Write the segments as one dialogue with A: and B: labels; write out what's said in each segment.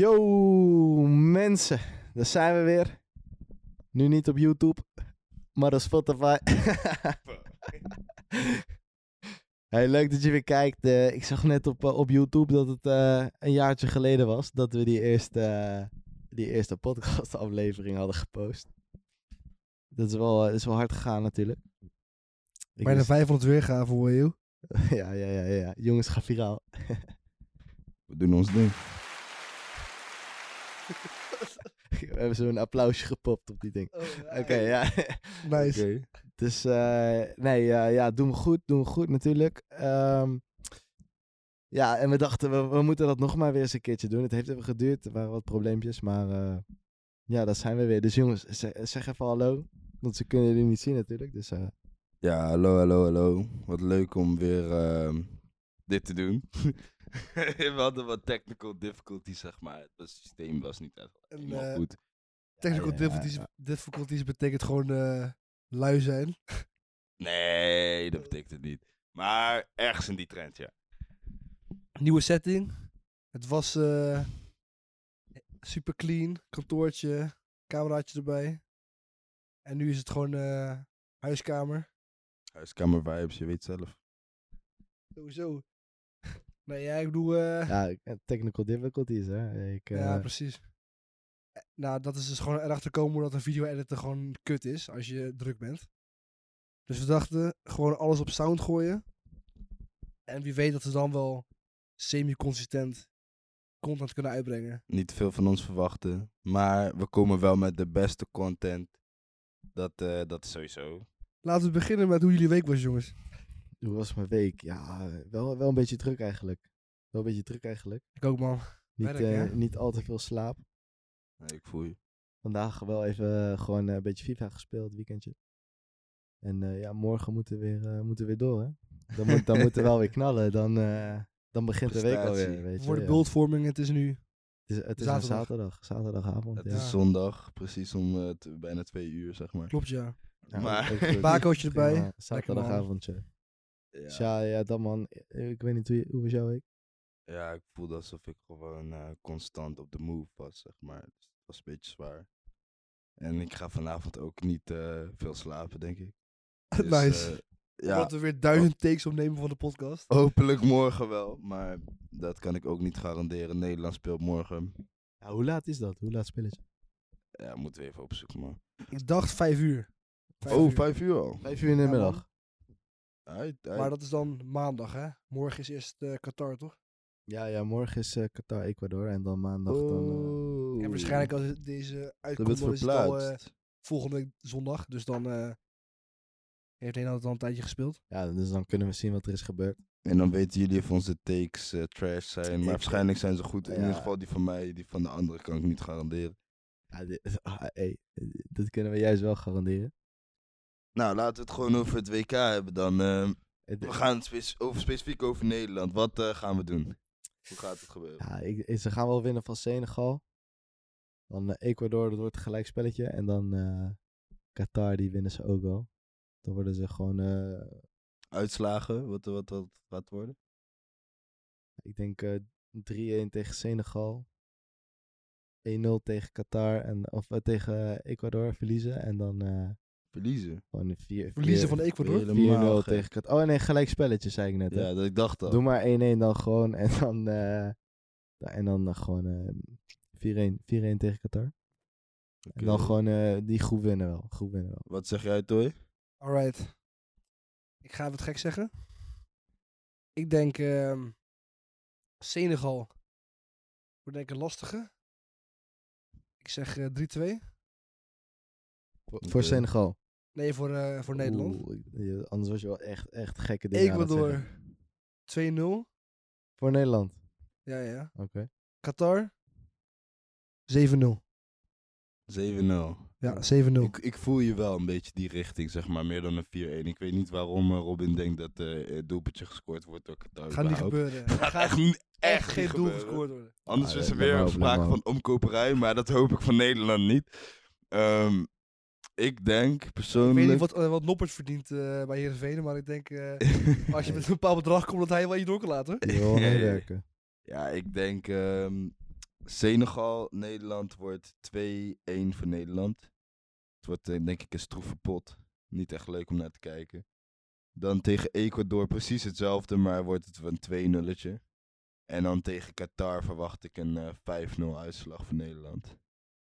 A: Yo mensen, daar zijn we weer. Nu niet op YouTube, maar op Spotify. hey, leuk dat je weer kijkt. Eh, ik zag net op, eh, op YouTube dat het eh, een jaartje geleden was dat we die eerste, eh, die eerste podcastaflevering hadden gepost. Dat is wel, eh, dat is wel hard gegaan natuurlijk. Ik
B: Bijna
A: wist-
B: 500 weergaven hoor je.
A: ja, ja, ja, ja. Jongens, ga viraal.
C: We doen ons ding.
A: we hebben zo'n applausje gepopt op die ding. Oké, ja.
B: Nice.
A: Dus eh, nee, eh, ja, doen we goed, doen we goed natuurlijk. Ehm, ja, en we dachten, we, we moeten dat nog maar weer eens een keertje doen. Het heeft even geduurd, er waren wat probleempjes, maar eh, ja, daar zijn we weer. Dus jongens, ze- zeg even hallo, want ze kunnen jullie niet zien natuurlijk. Dus eh,
C: Ja, hallo, hallo, hallo. Wat leuk om weer ehm, dit te doen. We hadden wat technical difficulties, zeg maar. Het systeem was niet echt
B: En,
C: helemaal
B: eh,
C: goed.
B: Technical
A: Ja, ja,
B: difficulties,
A: ja.
B: difficulties betekent gewoon eh, lui zijn.
C: Nee, dat betekent het niet. Maar ergens in die trend, ja.
B: Nieuwe setting. Het was eh, super clean. Kantoortje, cameraatje erbij. En nu is het gewoon eh, huiskamer.
C: Huiskamer vibes, je weet zelf.
B: Sowieso. Nee, ja, ik bedoel... eh,
A: ja, technical difficulties hè. Ik, eh,
B: Ja, precies. Eh, Nou, dat is dus gewoon erachter komen dat een video-editor gewoon kut is als je druk bent. Dus we dachten, gewoon alles op sound gooien. En wie weet dat we dan wel semi-consistent content kunnen uitbrengen.
C: Niet veel van ons verwachten. Maar we komen wel met de beste content. Dat, eh, dat is sowieso.
B: Laten we beginnen met hoe jullie week was, jongens.
A: hoe was mijn week? Ja, wel, wel een beetje druk eigenlijk. Wel een beetje druk eigenlijk.
B: Ik ook, man.
A: Niet,
B: Werk,
A: eh,
B: hè?
A: niet al te veel slaap.
C: Nee, ik voel je.
A: Vandaag wel even eh, gewoon eh, een beetje FIFA gespeeld, weekendje. En eh, ja, morgen moeten we weer, eh, moeten we weer door, hè? Dan, moet, dan moeten we wel weer knallen. Dan, eh, dan begint de week
C: Prestatie.
A: alweer, weet je.
B: Voor de
A: ja.
B: beeldvorming, het is nu.
A: Het is, het is
B: zaterdag.
A: een zaterdag, zaterdagavond.
C: Het
A: Ja.
C: is zondag, precies om eh, t- bijna twee uur, zeg maar.
B: Klopt, ja.
A: Ja,
C: maar-
A: ook goed.
B: Bakootje
A: Prima,
B: erbij.
A: Zaterdagavondje.
C: Ja.
A: Dus Ja. ja, dat man. Eh, Ik weet niet hoe, je- hoe was jouw week?
C: Ja, ik voelde alsof ik gewoon eh, constant op de move was, zeg maar. Dus het was een beetje zwaar. En ik ga vanavond ook niet eh, veel slapen, denk ik. Dus,
B: nice.
C: eh,
B: Dat
C: ja,
B: we weer duizend takes opnemen van de podcast.
C: hopelijk morgen wel, maar dat kan ik ook niet garanderen. Nederland speelt morgen.
A: Ja, hoe laat is dat? Hoe laat spelletje?
C: Ja, moeten we even opzoeken, man.
B: Ik dacht vijf uur.
C: oh,
B: uur.
C: vijf uur al.
A: Vijf uur in de
B: Ja, man.
A: middag.
C: Uit,
B: Maar dat is dan maandag, hè? Morgen is eerst eh, Qatar, toch?
A: Ja, ja, morgen is eh, Qatar, Ecuador. En dan maandag dan... eh,
B: En waarschijnlijk als het deze
C: Ze Oh. hebben
B: uitkomt,
C: het
B: dan is het al eh,
C: verplaatst.
B: volgende week zondag. Dus dan eh, heeft Nederland al een tijdje gespeeld.
A: ja, dus dan kunnen we zien wat er is gebeurd.
C: En dan weten jullie of onze takes eh, trash zijn. Maar
A: Ik-
C: waarschijnlijk zijn ze goed. In
A: Ja.
C: ieder geval die van mij, die van de andere kan ik niet garanderen.
A: Ja, dit- ah, hey, dat kunnen we juist wel garanderen.
C: Nou, laten we het gewoon over het WK hebben dan. ehm.
A: Het-
C: we gaan het spec- over, specifiek over Nederland. Wat eh, gaan we doen? Hoe gaat het gebeuren?
A: Ja, ik, ik- ze gaan wel winnen van Senegal. Dan eh, Ecuador, dat wordt een gelijk spelletje. En dan eh, Qatar, die winnen ze ook wel. Dan worden ze gewoon, eh,
C: Uitslagen? Wat, wat, wat gaat worden?
A: ik denk eh 3-1 tegen Senegal. 1-0 tegen Qatar, en, of eh, tegen Ecuador verliezen. En dan eh
C: Verliezen.
A: gewoon 4
B: Verliezen van Ecuador.
C: Hele-
A: 4-0
C: Helemaal gek.
A: tegen Qatar. Oh nee, gelijk spelletje, zei ik net. hè.
C: Ja, dat, ik dacht al.
A: Doe maar 1-1 dan gewoon. En dan, eh, da- en dan eh, gewoon eh 4-1 4-1 tegen Qatar.
C: Oké.
A: En dan gewoon eh, die groep winnen wel. Groep winnen wel.
C: Wat zeg jij, Toy?
B: Alright. Ik ga wat gek zeggen. Ik denk ehm, Senegal wordt denk ik een lastige. Ik zeg eh, 3-2.
A: Voor,
C: Oké.
A: voor Senegal.
B: Nee, voor, eh, voor Nederland.
A: Oeh, ik- je- anders was je wel echt, echt gekke dingen aan het
B: Ecuador
A: zeggen.
B: 2-0.
A: Voor Nederland.
B: Ja, ja.
A: Oké.
B: Qatar 7-0.
C: 7-0.
B: Ja, 7-0.
C: Ik, ik voel je wel een beetje die richting, zeg maar. Meer dan een 4-1. Ik weet niet waarom eh, Robin denkt dat eh het doelpuntje gescoord wordt door Qatar.
B: Gaat niet
C: überhaupt.
B: gebeuren. Er
C: Gaat
B: gaat
C: echt, niet-
B: echt
C: echt
B: geen
C: niet
B: doel
C: gebeuren.
B: gescoord worden.
C: Anders
A: Ah,
C: is
A: ja,
C: er
A: let maar
C: weer
A: op, let
C: sprake
A: maar
C: van omkoperij, maar dat hoop ik van Nederland niet. Ehm, ik denk
B: Ik weet niet
C: persoonlijk.
B: wat, eh, wat Noppert verdient eh, bij Heerenveen, maar ik denk eh, als je met een bepaald bedrag komt dat hij wel je door kan laten.
A: Die wil wel meewerken.
C: ja, ik denk ehm, Senegal, Nederland wordt 2-1 voor Nederland. Het wordt eh, denk ik een stroeve pot. Niet echt leuk om naar te kijken. Dan tegen Ecuador precies hetzelfde, maar wordt het een 2-0'tje. En dan tegen Qatar verwacht ik een eh, 5-0 uitslag voor Nederland.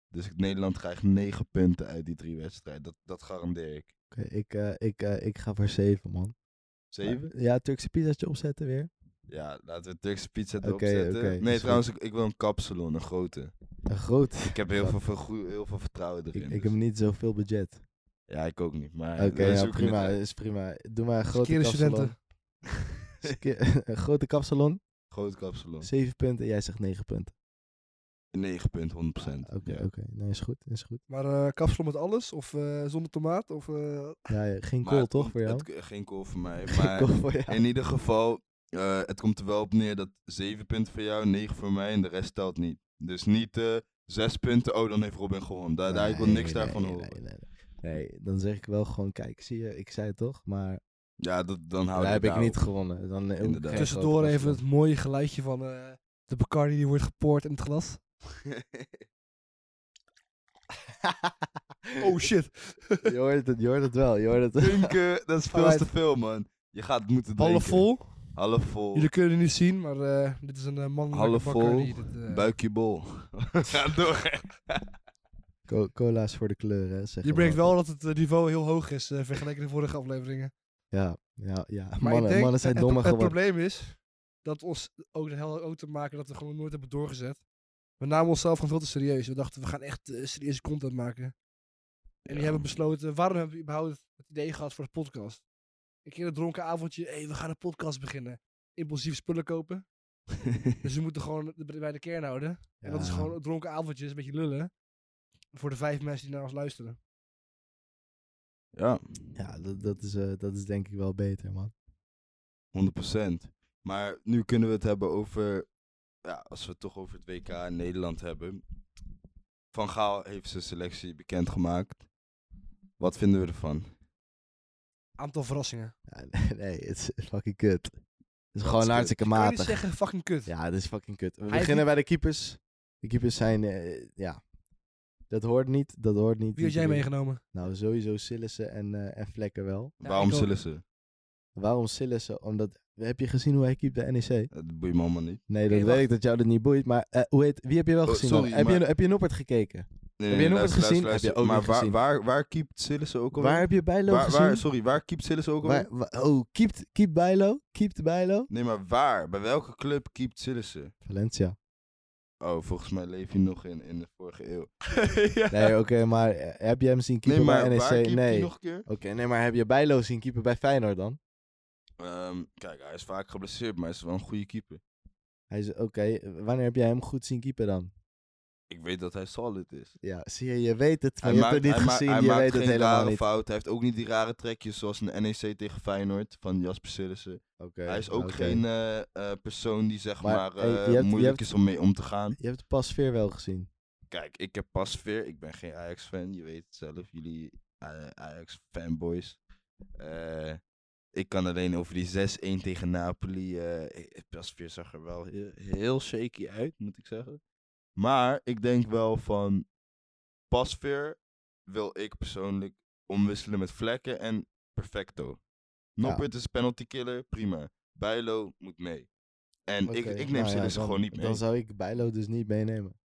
C: Dus ik- Nederland krijgt 9 punten uit die drie wedstrijden. Dat, dat garandeer ik.
A: Oké, ik, eh, ik, eh, ik ga voor 7, man.
C: 7?
A: Ja, Turkse pizzaatje opzetten weer.
C: Ja, laten we Turkse pizza erop
A: Oké,
C: zetten.
A: oké, is
C: nee,
A: goed.
C: trouwens, ik, ik wil een kapsalon, een grote.
A: Een groot.
C: Ik heb heel veel, veel, goe- heel veel vertrouwen
A: Ik,
C: erin.
A: ik
C: dus-
A: heb niet zoveel budget.
C: Ja, ik ook niet. Maar
A: Oké,
C: we
A: ja,
C: zoeken
A: prima.
C: het uit.
A: Is prima. Doe maar een grote
B: Verkeerde
A: kapsalon.
B: studenten.
A: Ske- een grote kapsalon.
C: Groot kapsalon.
A: 7 punten. Jij zegt 9 punten.
C: 9 punt, 100%.
A: Oké,
C: ja.
A: oké. Nee, is goed. Is goed.
B: Maar eh kapsalon met alles? Of eh, zonder tomaat? Of, eh,
A: Ja, ja, geen
C: Maar
A: kool
C: het
A: toch
C: komt-
A: voor jou?
C: het- geen kool voor mij.
A: Geen
C: Maar
A: kool voor jou.
C: in ieder geval, eh, het komt er wel op neer dat 7 punten voor jou, 9 voor mij en de rest telt niet. Dus niet eh 6 punten, oh dan heeft Robin gewonnen. Daar, daar, ik wil
A: Nee,
C: niks
A: nee,
C: daarvan
A: nee,
C: horen.
A: Nee, nee, nee. Nee, dan zeg ik wel gewoon, kijk, zie je, ik zei het toch, maar
C: Ja, Nou, dat, dan hou
A: daar
C: ik
A: heb ik
C: daarop.
A: niet gewonnen. Dan eh, ook
C: Inderdaad.
A: geen
B: tussendoor
A: grote
B: even
A: kapsalon.
B: het mooie geluidje van eh, de Bacardi die wordt gepoord in het glas. Oh shit.
A: Je hoort het, je hoort het wel, je hoort het.
C: Drinken, dat is veel
B: Alright.
C: te veel man. Je gaat moeten drinken.
B: Ballen vol.
C: Half vol.
B: Jullie kunnen het niet zien, maar eh, dit is een eh, mannelijke
C: Half vol,
B: Bacardi. Dit, eh,
C: Buikje bol. Ga door.
A: Co- cola's voor de kleuren, hè, zeggen
B: je merkt
A: we
B: wel dat het eh, niveau heel hoog is eh, vergeleken met de vorige afleveringen.
A: altijd. Ja, ja, ja.
B: Maar
A: Mannen,
B: ik denk,
A: mannen zijn
B: het,
A: dommer
B: het
A: geworden.
B: probleem is dat ons ook de hel ook te maken dat we gewoon nooit hebben doorgezet. We namen onszelf gewoon veel te serieus. We dachten, we gaan echt eh, serieuze content maken. En die hebben besloten, waarom hebben we überhaupt het idee gehad voor de podcast? Een keer een dronken avondje, hé, we gaan een podcast beginnen. Impulsief spullen kopen. Dus we moeten gewoon de- bij de kern houden. En dat is
A: Ja.
B: gewoon een dronken avondjes, een beetje lullen. Voor de vijf mensen die naar ons luisteren.
C: Ja,
A: Ja, dat, dat, is, eh, dat is denk ik wel beter, man.
C: 100%. Maar nu kunnen we het hebben over. Ja, als we het toch over het WK in Nederland hebben. Van Gaal heeft zijn selectie bekendgemaakt. Wat vinden we ervan?
B: Nou, Aantal verrassingen.
A: Ja, nee, het is fucking kut. Het is gewoon
C: kut.
A: hartstikke
B: Kan je niet
A: matig.
B: zeggen, fucking kut.
A: Ja, dat is fucking kut. We
B: heeft
A: beginnen bij de keepers. De keepers zijn, eh, ja. Dat hoort niet, dat hoort niet.
B: Wie had jij
A: Die-
B: meegenomen?
A: Nou, sowieso Sillissen en, eh, en Vlekken wel.
B: Ja,
C: Waarom
B: ik ook.
C: zullen ze?
A: Waarom Sillissen? Omdat, heb je gezien hoe hij keept de NEC?
C: Eh, Dat boeit me allemaal niet.
A: Nee,
B: Oké,
A: dat weet
B: wacht.
A: ik dat jou dat niet boeit. Maar eh, hoe heet, wie heb je wel
C: Oh,
A: gezien?
C: sorry,
A: man? heb, je,
C: maar-
A: heb je Noppert gekeken?
C: Nee,
A: Heb jij nog wat gezien? Heb je ook
C: maar
A: niet
C: waar,
A: gezien?
C: Waar, waar keept Sillissen ook al?
A: Waar heb je Bijlo
C: waar,
A: gezien?
C: waar, sorry, waar keept Sillissen ook al?
A: Waar- wa- oh, keept, keept Bijlo? Keept Bijlo?
C: Nee, maar waar? Bij welke club keept Sillissen?
A: Valencia.
C: Oh, volgens mij leef je nog in, in de vorige eeuw.
A: Nee, oké, maar eh, heb je hem zien keeper
C: nee, maar
A: bij NEC?
C: waar keept
A: E
C: hij
A: nee.
C: nog een keer?
A: Oké, nee, maar heb je Bijlo zien keeper bij Feyenoord dan?
C: Ehm, kijk, hij is vaak geblesseerd, maar hij is wel een goede keeper.
A: Hij is oké, wanneer heb jij hem goed zien keeper dan?
C: Ik weet dat hij solid is.
A: Ja, zie je, je weet het, maar je hebt het niet
C: hij ma-
A: gezien,
C: hij
A: je
C: maakt
A: weet het
C: geen
A: helemaal
C: rare
A: niet.
C: fout. Hij heeft ook niet die rare trekjes zoals een NEC tegen Feyenoord van Jasper Sillissen.
A: Oké,
C: hij is ook
A: oké.
C: geen eh, eh, persoon die zeg
A: Maar,
C: maar,
A: hey, je
C: eh,
A: hebt- je
C: moeilijk
A: hebt-
C: is om mee om te gaan.
A: Je hebt pas Veer wel gezien.
C: Kijk, ik heb pas veer. Ik ben geen Ajax-fan. Je weet het zelf. Jullie eh, Ajax-fanboys. Eh, ik kan alleen over die 6-1 tegen Napoli. eh pas veer zag er wel heel, heel shaky uit, moet ik zeggen. Maar ik denk wel van... Pasveer wil ik persoonlijk omwisselen met vlekken en perfecto. Noppert is penalty killer, prima. Bijlo moet mee. En ik,
A: Oké,
C: ik neem
A: nou ja,
C: ze
A: dan-
C: gewoon niet mee.
A: Dan zou ik Bijlo dus niet meenemen.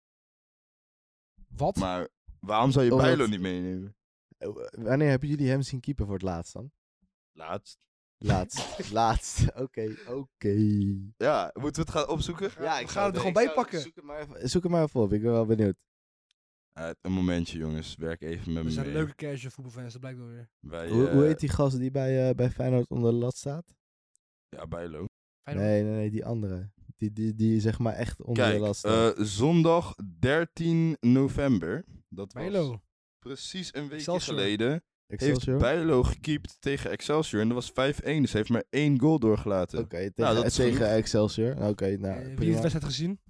B: Wat?
C: Maar waarom zou je
A: Omdat-
C: Bijlo niet meenemen?
A: Eh, w- Wanneer hebben jullie hem zien keeper voor het laatst dan?
C: Laatst.
A: Laatst, laatst. Oké, oké.
C: Ja, moeten we het gaan opzoeken?
A: Ja,
B: ik gaan zou het er het- gewoon bij ik zou- pakken.
A: Zoek het, maar even, zoek het maar even op, ik ben wel benieuwd.
C: Eh, een momentje jongens, werk even met
B: We
C: me
B: zijn
C: mee.
B: leuke casual voetbalfans, dat blijkt wel weer.
C: Wij,
A: Hoe, hoe
C: eh,
A: heet die gast die bij, eh, bij Feyenoord onder de lat staat?
C: Ja, Bijlo.
B: Feyenoord.
A: Nee, nee, nee, die andere. Die, die, die zeg maar echt onder de
C: Kijk,
A: lat staat.
C: eh, zondag 13 november, dat was
B: Bijlo.
C: precies een week
B: Excelsior.
C: geleden,
A: Excelsior?
C: heeft Bijlo gekiept tegen Excelsior en dat was 5-1, dus hij heeft maar één goal doorgelaten.
A: Oké, tegen,
C: Nou, dat is
A: tegen
C: genoeg.
A: Excelsior. Oké,
B: Eh,
A: nou,
B: wie heeft
A: prima.
B: de wedstrijd gezien?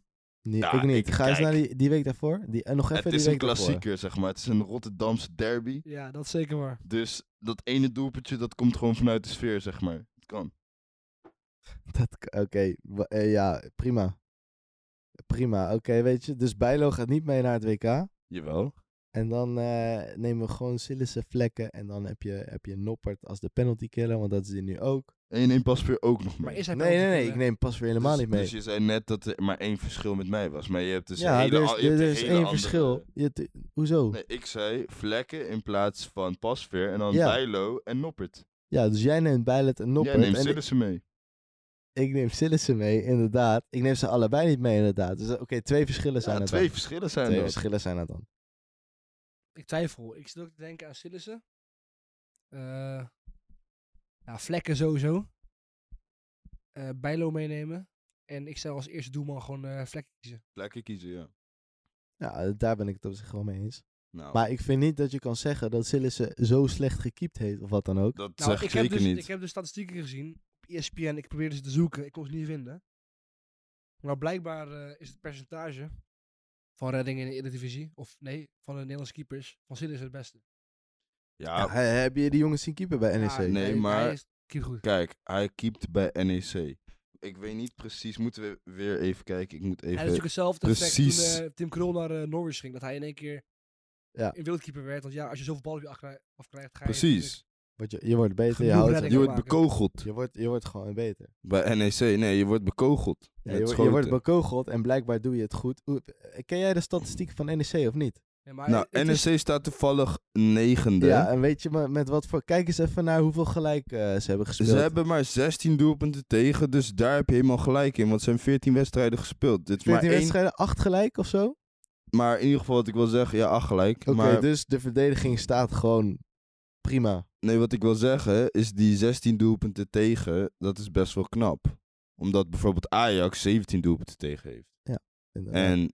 A: Nee,
C: Ja,
A: ik niet.
C: ik-
A: Ga eens
C: kijk.
A: naar die, die week daarvoor. Die, en nog even
C: het
A: die
C: is een
A: week
C: klassieker, zeg maar. Het is een Rotterdamse derby.
B: Ja, dat is zeker waar.
C: Dus dat ene doelpuntje, dat komt gewoon vanuit de sfeer, zeg maar. Het kan.
A: daarvoor. Dat, k- Oké, wa- eh, ja, prima. Prima, oké, weet je. Dus Bijlo gaat niet mee naar het WK.
C: Jawel.
A: En dan eh, nemen we gewoon Sillissen vlekken. En dan heb je, heb je Noppert als de penalty killer, want dat is hij nu ook.
C: En je neemt Pasveer ook nog mee.
B: Maar is hij
A: Nee, nee,
B: penalty
A: nee,
B: killer?
A: ik neem pas weer helemaal
C: Dus-
A: niet mee.
C: Dus je zei net dat er maar één verschil met mij was. Maar je hebt dus een
A: ja,
C: hele
A: er is,
C: al- je hebt
A: er
C: een
A: is
C: hele
A: één
C: andere- eh,
A: verschil. Je, hebt- hoezo?
C: Nee, ik zei vlekken in plaats van Pasveer en dan
A: Ja.
C: Bijlo en Noppert.
A: Ja, dus jij neemt Bijlet en Noppert.
C: Jij neemt
A: en ik-
C: Sillissen mee.
A: ik neem Sillissen mee, inderdaad. Ik neem ze allebei niet mee, inderdaad. Dus eh, oké, twee verschillen zijn
C: Ja,
A: er
C: twee
A: dan.
C: verschillen zijn
A: Twee
C: dat.
A: verschillen zijn er dan.
B: Ik twijfel. Ik zit ook te denken aan Sillissen. Eh nou, vlekken sowieso. Eh, Bijlo meenemen. En ik zou als eerste doelman gewoon eh vlekken kiezen.
C: Vlekken kiezen, ja.
A: Ja, daar ben ik het op zich wel mee eens.
C: Nou,
A: Maar ik vind niet dat je kan zeggen dat Sillissen zo slecht gekiept heeft of wat dan ook.
C: dat
B: Nou,
C: zeg ik
B: ik, heb
C: zeker
B: dus,
C: niet.
B: ik heb dus statistieken gezien op E ESPN. Ik probeerde ze te zoeken. Ik kon ze niet vinden. Maar blijkbaar eh, is het percentage van reddingen in de Eredivisie, of nee, van de Nederlandse keepers, van Sillissen het beste.
C: Ja,
A: Ja, he- heb je die jongens zien keeper bij E NEC?
B: Ja,
C: Oh. nee.
B: hij-
C: maar-
B: Hij is, keep goed.
C: kijk, hij keept bij NEC. Ik weet niet precies, moeten we weer even kijken. Ik moet
B: En dat is
C: even...
B: natuurlijk hetzelfde effect toen
C: Precies.
B: eh, Tim Krul naar eh, Norwich ging. Dat hij in één keer
A: Ja.
B: een wildkeeper werd. Want ja, als je zoveel ballen op je afkrijgt, afkrijgt ga je
C: Precies.
A: Want je, je wordt beter, je
B: Genoeg
A: houdt
B: reddingen.
C: Je
A: het.
C: wordt
B: maken.
C: bekogeld
A: Je wordt, je wordt gewoon beter.
C: bij NEC. Nee, je wordt bekogeld.
A: Ja,
C: met
A: je, wo- je
C: schoten.
A: wordt bekogeld en blijkbal doe je het goed. Oeh, eh, ken jij de statistieken van NEC of niet?
B: natuurlijk- Nee, maar
C: Nou,
B: het
C: NEC
B: is-
C: staat toevallig negende.
A: Ja, en weet je maar met wat voor... Kijk eens even naar hoeveel gelijk eh, ze hebben gespeeld.
C: Ze hebben maar 16 doelpunten tegen, dus daar heb je helemaal gelijk in. Want ze hebben 14 wedstrijden gespeeld. Dit is
A: 14
C: maar, één,
A: wedstrijden, 8 gelijk of zo?
C: maar in ieder geval wat ik wil zeggen, ja, acht gelijk.
A: Oké,
C: maar
A: dus de verdediging staat gewoon prima.
C: nee, wat ik wil zeggen is die 16 doelpunten tegen, dat is best wel knap. Omdat bijvoorbeeld Ajax 17 doelpunten tegen heeft.
A: inderdaad.
C: En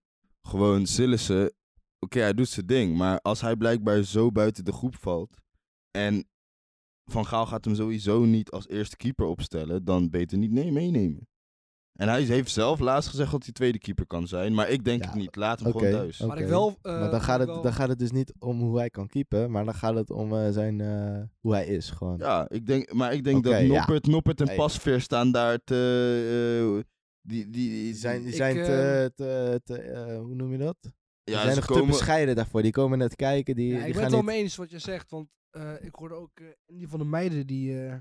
C: gewoon Sillissen, oké, hij doet zijn ding. Maar als hij blijkbaar zo buiten de groep valt en Van Gaal gaat hem sowieso niet als eerste keeper opstellen, dan beter niet nee, meenemen. En hij heeft zelf laatst gezegd dat hij tweede keeper kan zijn, maar ik denk
A: Ja,
C: het niet. Laat hem
A: oké,
C: gewoon thuis.
A: oké.
B: Maar ik wel... eh,
A: maar dan
B: wat
A: gaat,
B: ik
A: het,
B: wel-
A: dan gaat het dus niet om hoe hij kan keepen, maar dan gaat het om eh, zijn, eh, hoe hij is gewoon.
C: Ja, ik denk, maar ik denk
A: Oké,
C: dat
A: ja.
C: Noppert, Noppert en
A: Hey.
C: Pasveer staan daar te... eh, die, die, die-
A: Die zijn, die
B: Ik,
A: zijn
B: eh,
A: te, te, te, eh, hoe noem je dat? Die
C: ja,
A: zijn
C: ze
A: nog te
C: komen,
A: bescheiden daarvoor. Die komen net kijken, die,
B: Ja,
A: die
B: ik ben
A: gaan
B: het wel
A: niet...
B: mee eens wat je zegt. Want eh, ik hoorde ook eh Andy van de Meijden die... eh,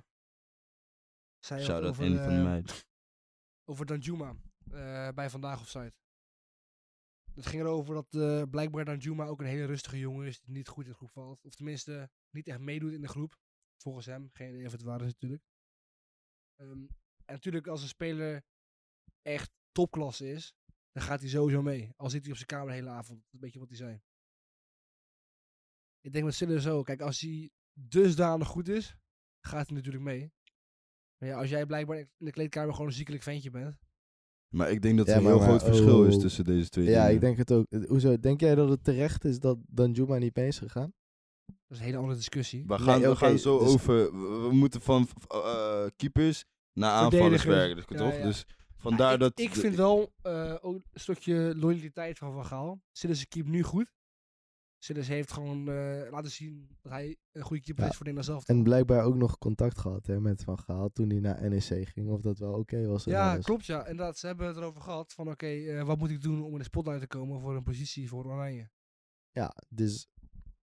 B: zei wat
C: Shout-out
B: over,
C: Andy van de
B: eh,
C: Meijden.
B: over Danjuma eh, bij Vandaag of Site. Het ging erover dat eh, blijkbaar Danjuma ook een hele rustige jongen is die niet goed in de groep valt. Of tenminste, niet echt meedoet in de groep. Volgens hem. Geen idee of het waar is natuurlijk. Ehm, en natuurlijk, als een speler echt topklasse is, dan gaat hij sowieso mee. Al zit hij op zijn kamer de hele avond. Dat is een beetje wat hij zei. Ik denk met Sillissen zo. Kijk, als hij dusdanig goed is, gaat hij natuurlijk mee. Maar ja, als jij blijkbaar in de kleedkamer gewoon een ziekelijk ventje bent,
C: Maar ik denk dat er
A: Ja,
C: een
A: maar-
C: heel
A: maar-
C: groot verschil is
A: oh.
C: tussen deze twee
A: Ja,
C: dingen.
A: ik denk het ook. Eh, Hoezo, denk jij dat het terecht is dat Danjuma niet mee is gegaan?
B: Dat is een hele andere discussie.
C: We gaan,
A: oké,
C: we gaan zo
A: dus-
C: over. We, we moeten van eh, keepers naar aanvallers
B: Verdedigers,
C: werken,
B: ja,
C: toch?
B: ja.
C: Dus
B: Ja,
C: vandaar
B: ik,
C: dat.
B: ik vind wel eh, ook een stukje loyaliteit van Van Gaal. Sillis keep nu goed. Sillis heeft gewoon eh, laten zien dat hij een goede keeper
A: Ja.
B: is voor Nederland zelf.
A: En blijkbaar ook nog contact gehad hè, met Van Gaal toen hij naar NEC ging. Of dat wel oké was. en
B: Ja,
A: alles.
B: klopt ja. Inderdaad, ze hebben het erover gehad van oké, eh, wat moet ik doen om in de spotlight te komen voor een positie voor Oranje.
A: Ja, dus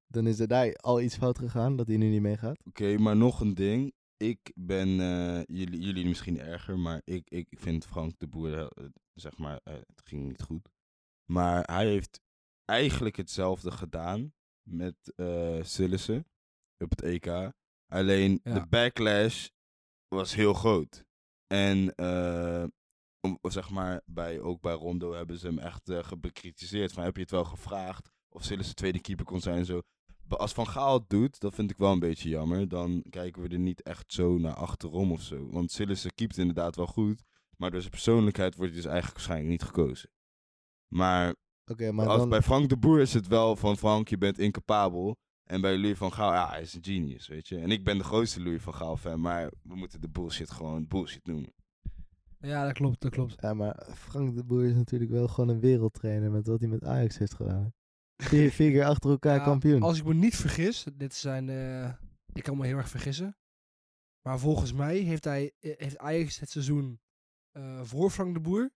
A: dan is er daar al iets fout gegaan dat hij nu niet meegaat.
C: Oké, maar nog een ding. Ik ben. eh, jullie, jullie misschien erger, maar ik, ik vind Frank de Boer. eh, zeg maar, eh, het ging niet goed. Maar hij heeft eigenlijk hetzelfde gedaan met eh Sillissen op het EK. Alleen
B: Ja.
C: de backlash was heel groot. En eh, om, zeg maar, bij, ook bij Rondo hebben ze hem echt eh, ge- bekritiseerd. Van, heb je het wel gevraagd of Sillissen tweede keeper kon zijn en zo. Maar Als Van Gaal het doet, dat vind ik wel een beetje jammer. Dan kijken we er niet echt zo naar achterom of zo. Want Sillissen keept inderdaad wel goed. Maar door zijn persoonlijkheid wordt hij dus eigenlijk waarschijnlijk niet gekozen. Maar
A: Oké, maar
C: als,
A: dan...
C: bij Frank de Boer is het wel van Frank, je bent incapabel. En bij Louis van Gaal, ja, hij is een genius, weet je. En ik ben de grootste Louis van Gaal fan, maar we moeten de bullshit gewoon bullshit noemen.
B: Ja, dat klopt, dat klopt.
A: Ja, maar Frank de Boer is natuurlijk wel gewoon een wereldtrainer met wat hij met Ajax heeft gedaan. hè. Vier, vier keer achter elkaar
B: Ja,
A: kampioen.
B: eh, Als ik me niet vergis, dit zijn, eh, ik kan me heel erg vergissen. Maar volgens mij heeft, hij, eh, heeft Ajax het seizoen eh, voor Frank de Boer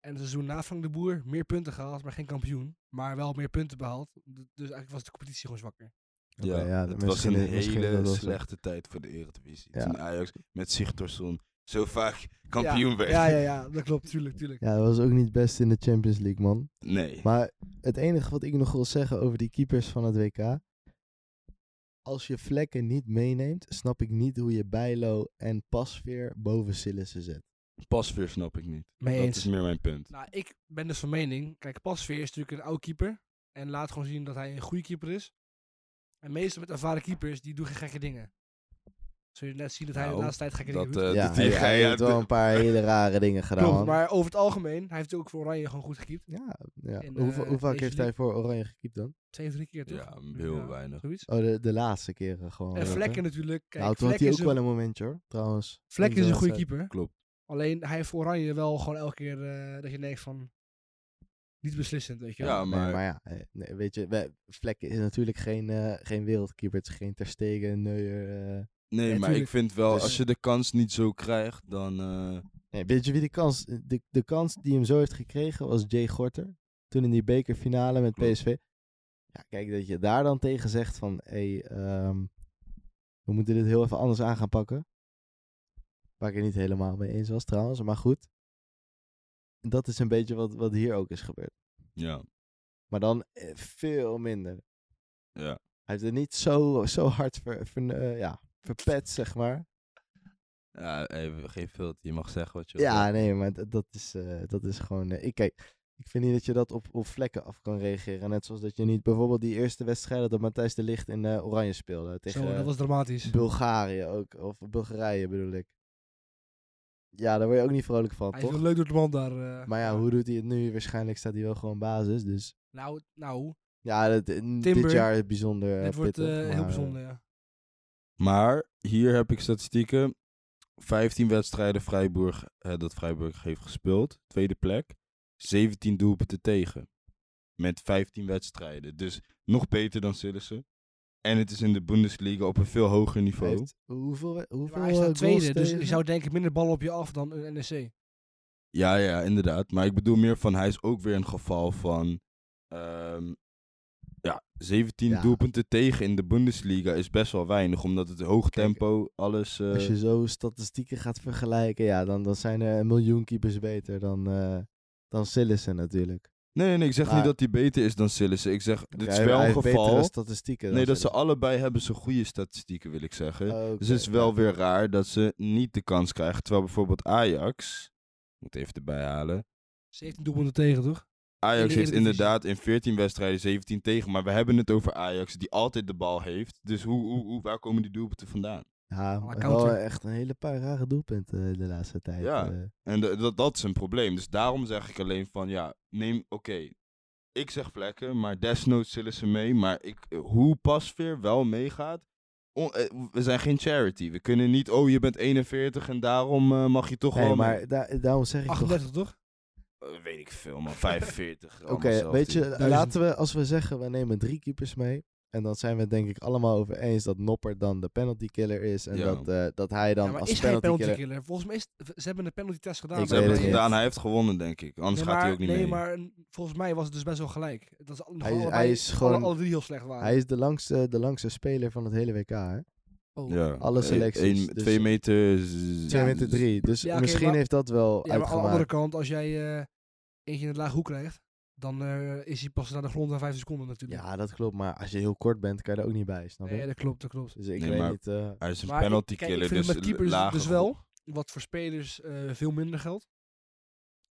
B: En het seizoen na Frank de Boer meer punten gehaald, maar geen kampioen. Maar wel meer punten behaald. D- Dus eigenlijk was de competitie gewoon zwakker.
C: Ja,
A: ja,
C: het was
A: misschien-
C: een
A: misschien is dat
C: hele
A: wel zo.
C: slechte tijd voor de Eredivisie.
A: Ja.
C: Toen Ajax met Sigtorsson zo vaak kampioen werd.
B: Ja, ja, ja, dat klopt. Tuurlijk, tuurlijk.
A: Ja, dat was ook niet best in de Champions League, man.
C: Nee.
A: Maar het enige wat ik nog wil zeggen over die keepers van het WK. Als je vlekken niet meeneemt, snap ik niet hoe je Bijlo en Pasveer boven Sillissen zet.
C: Pasveer snap ik niet.
B: Mee
C: Dat is meer mijn punt.
B: Nou, ik ben dus van mening. Kijk, Pasveer is natuurlijk een oud keeper. En laat gewoon zien dat hij een goede keeper is. En meestal met ervaren keepers, die doen geen gekke dingen. Zul je net zien dat hij de
C: Nou,
B: laatste tijd gekke
C: Dat,
B: dingen doet.
C: eh,
A: ja,
C: dat
A: hij,
C: die
A: hij
C: ga je
A: heeft
C: uit-
A: wel een paar hele rare dingen gedaan.
B: Klopt,
A: man.
B: maar over het algemeen, hij heeft ook voor Oranje gewoon goed gekiept.
A: Ja, ja.
B: In,
A: hoe,
B: eh,
A: hoe vaak
B: Nation
A: heeft hij
B: League.
A: voor Oranje gekiept dan?
B: Twee of drie keer, toch?
C: Ja, heel
B: Ja,
C: weinig.
B: Zoiets.
A: Oh, de, de laatste keren gewoon.
B: En
A: ook, hè?
B: Vlekken natuurlijk. Kijk,
A: nou, toen had hij
B: Vlek is
A: ook
B: een-
A: wel een momentje hoor, trouwens.
B: Vlek
A: In
B: is
A: zo'n
B: een goede
A: wedstrijd.
B: keeper.
C: Klopt.
B: Alleen hij heeft voor Oranje wel gewoon elke keer eh, dat je denkt van... Niet beslissend, weet je
C: Ja,
B: wel.
A: Nee,
C: maar,
A: maar ja, eh, nee, weet je, wij- Vlekken is natuurlijk geen, eh, geen wereldkeeper. Het is geen Ter Stegen, Neuer. eh.
C: nee,
B: Ja,
C: maar ik
B: tuurlijk.
C: vind wel,
A: Dus-
C: als je de kans niet zo krijgt, dan... eh,
A: Nee, weet je wie de kans... De, de kans die hem zo heeft gekregen was Jay Gorter. Toen in die bekerfinale met
C: Klopt.
A: PSV. Ja, kijk, dat je daar dan tegen zegt van... Hé, ehm, we moeten dit heel even anders aan gaan pakken. Waar ik het niet helemaal mee eens was trouwens, maar goed. Dat is een beetje wat, wat hier ook is gebeurd.
C: ja,
A: Maar dan eh, veel minder.
C: ja.
A: Hij heeft het niet zo, zo hard ver, ver- eh, ja, verpet, zeg maar.
C: ja hey, geen filter, je mag zeggen wat je wil.
A: Ja, nee, maar dat, dat, is, eh, dat is gewoon... eh, ik, kijk, ik vind niet dat je dat op, op vlekken af kan reageren. Net zoals dat je niet bijvoorbeeld die eerste wedstrijd dat Matthijs de Licht in eh, Oranje speelde. Tegen
B: Zo, dat was dramatisch.
A: Bulgarië ook, of Bulgarije bedoel ik. Ja, daar word je ook niet vrolijk van,
B: Hij is wel
A: toch?
B: leuk door de man daar. eh.
A: Maar ja, hoe doet hij het nu? Waarschijnlijk staat hij wel gewoon basis, dus...
B: Nou, nou
A: Ja, dat, dit
B: Timber,
A: jaar is bijzonder eh,
B: dit wordt
A: pittig,
B: eh,
A: maar,
B: heel
A: eh,
B: bijzonder, ja.
C: Maar hier heb ik statistieken. 15 wedstrijden Freiburg, eh, dat Freiburg heeft gespeeld. Tweede plek. 17 doelpunten tegen. Met 15 wedstrijden. Dus nog beter dan Sillissen. En het is in de Bundesliga op een veel hoger
A: hij
C: niveau.
A: heeft- hoeveel, we- hoeveel
B: Maar
A: eh,
B: hij
A: goals
B: staat tweede, dus
A: tegen?
B: je zou denken minder ballen op je af dan een NEC.
C: Ja, ja, inderdaad. Maar ik bedoel meer van hij is ook weer een geval van. ehm, ja, 17
A: Ja.
C: doelpunten tegen in de Bundesliga is best wel weinig. Omdat het hoog
A: Kijk,
C: tempo, alles. eh,
A: Als je zo statistieken gaat vergelijken, ja, dan, dan zijn er een miljoen keepers beter dan, eh dan Sillissen natuurlijk.
C: Nee, nee, nee, ik zeg
A: Maar-
C: niet dat hij beter is dan Sillissen. Ik zeg, dit is
A: Hij-
C: wel
A: hij
C: een
A: heeft betere
C: geval.
A: statistieken. dan
C: Nee, dat ze
A: Sillissen. Oh,
C: allebei hebben ze goede statistieken, wil ik zeggen.
A: Oké,
C: Dus het is wel weer raar dat ze niet de kans krijgen. Terwijl bijvoorbeeld Ajax, ik moet even erbij halen.
B: 17 doelpunten tegen, toch? In
C: Ajax
B: de
C: heeft
B: Eredivisie.
C: inderdaad in 14 wedstrijden 17 tegen. Maar we hebben het over Ajax, die altijd de bal heeft. Dus hoe, hoe, hoe, waar komen die doelpunten vandaan?
A: Ja,
B: Alle
A: wel
B: counter.
A: echt een hele paar rare doelpunten eh, de laatste tijd.
C: Ja.
A: eh.
C: En da- dat, dat is een probleem. Dus daarom zeg ik alleen van, ja, neem, oké. ik zeg vlekken, maar desnoods zullen ze mee. Maar ik, eh, hoe Pasveer wel meegaat. on- eh, we zijn geen charity. We kunnen niet, oh, je bent 41 en daarom eh, mag je toch
A: Nee,
C: wel... mee.
A: maar daar- daarom zeg ik toch...
B: 38, toch?
C: Eh, weet ik veel, man. 45.
A: Oké,
C: allemaal zelf
A: weet
C: die-
A: je,
B: Duizend.
A: laten we, als we zeggen, we nemen drie keepers mee... En dan zijn we het denk ik allemaal over eens dat Nopper dan de penalty killer is. En
C: Ja.
A: dat, eh, dat hij dan
B: Ja, maar
A: als
B: is hij
A: penalty,
B: een penalty
A: killer...
B: killer? Volgens mij is het- ze hebben een penalty test gedaan.
A: Ik
C: Ze
B: maar-
A: weet
C: hebben
A: het
C: het
A: niet.
C: gedaan. Hij heeft gewonnen, denk ik. Anders
B: Nee,
C: gaat hij
B: maar-
C: ook niet
B: nee,
C: mee.
B: maar mm, volgens mij was het dus best wel gelijk. Dat is nog
A: Hij is-
B: allebei-
A: hij is
B: alle-
A: gewoon-
B: Alle, drie heel slecht waren.
A: Hij is de langste, de langste speler van het hele WK, hè?
B: Oh.
C: Ja.
A: Alle
C: Eh,
A: selecties,
C: één-
A: dus-
C: Twee meter...
A: 2 meter 3. Dus
B: Ja, oké,
A: misschien
B: maar-
A: heeft dat wel
B: Ja, maar aan de andere
A: uitgemaakt.
B: kant, als jij eh, eentje in het laag hoek krijgt, dan eh, is hij pas naar de grond na 5 seconden natuurlijk.
A: Ja, dat klopt. Maar als je heel kort bent, kan je er ook niet bij, snap je?
B: nee, dat klopt, dat klopt.
A: Dus ik
C: Nee,
A: weet
C: maar-
A: niet... eh,
C: Hij is een
B: Maar ik-
C: penalty
B: kijk, ik
C: killer,
B: vind
C: dus
B: met keepers
C: lage
B: dus wel, wat voor spelers eh, veel minder geldt.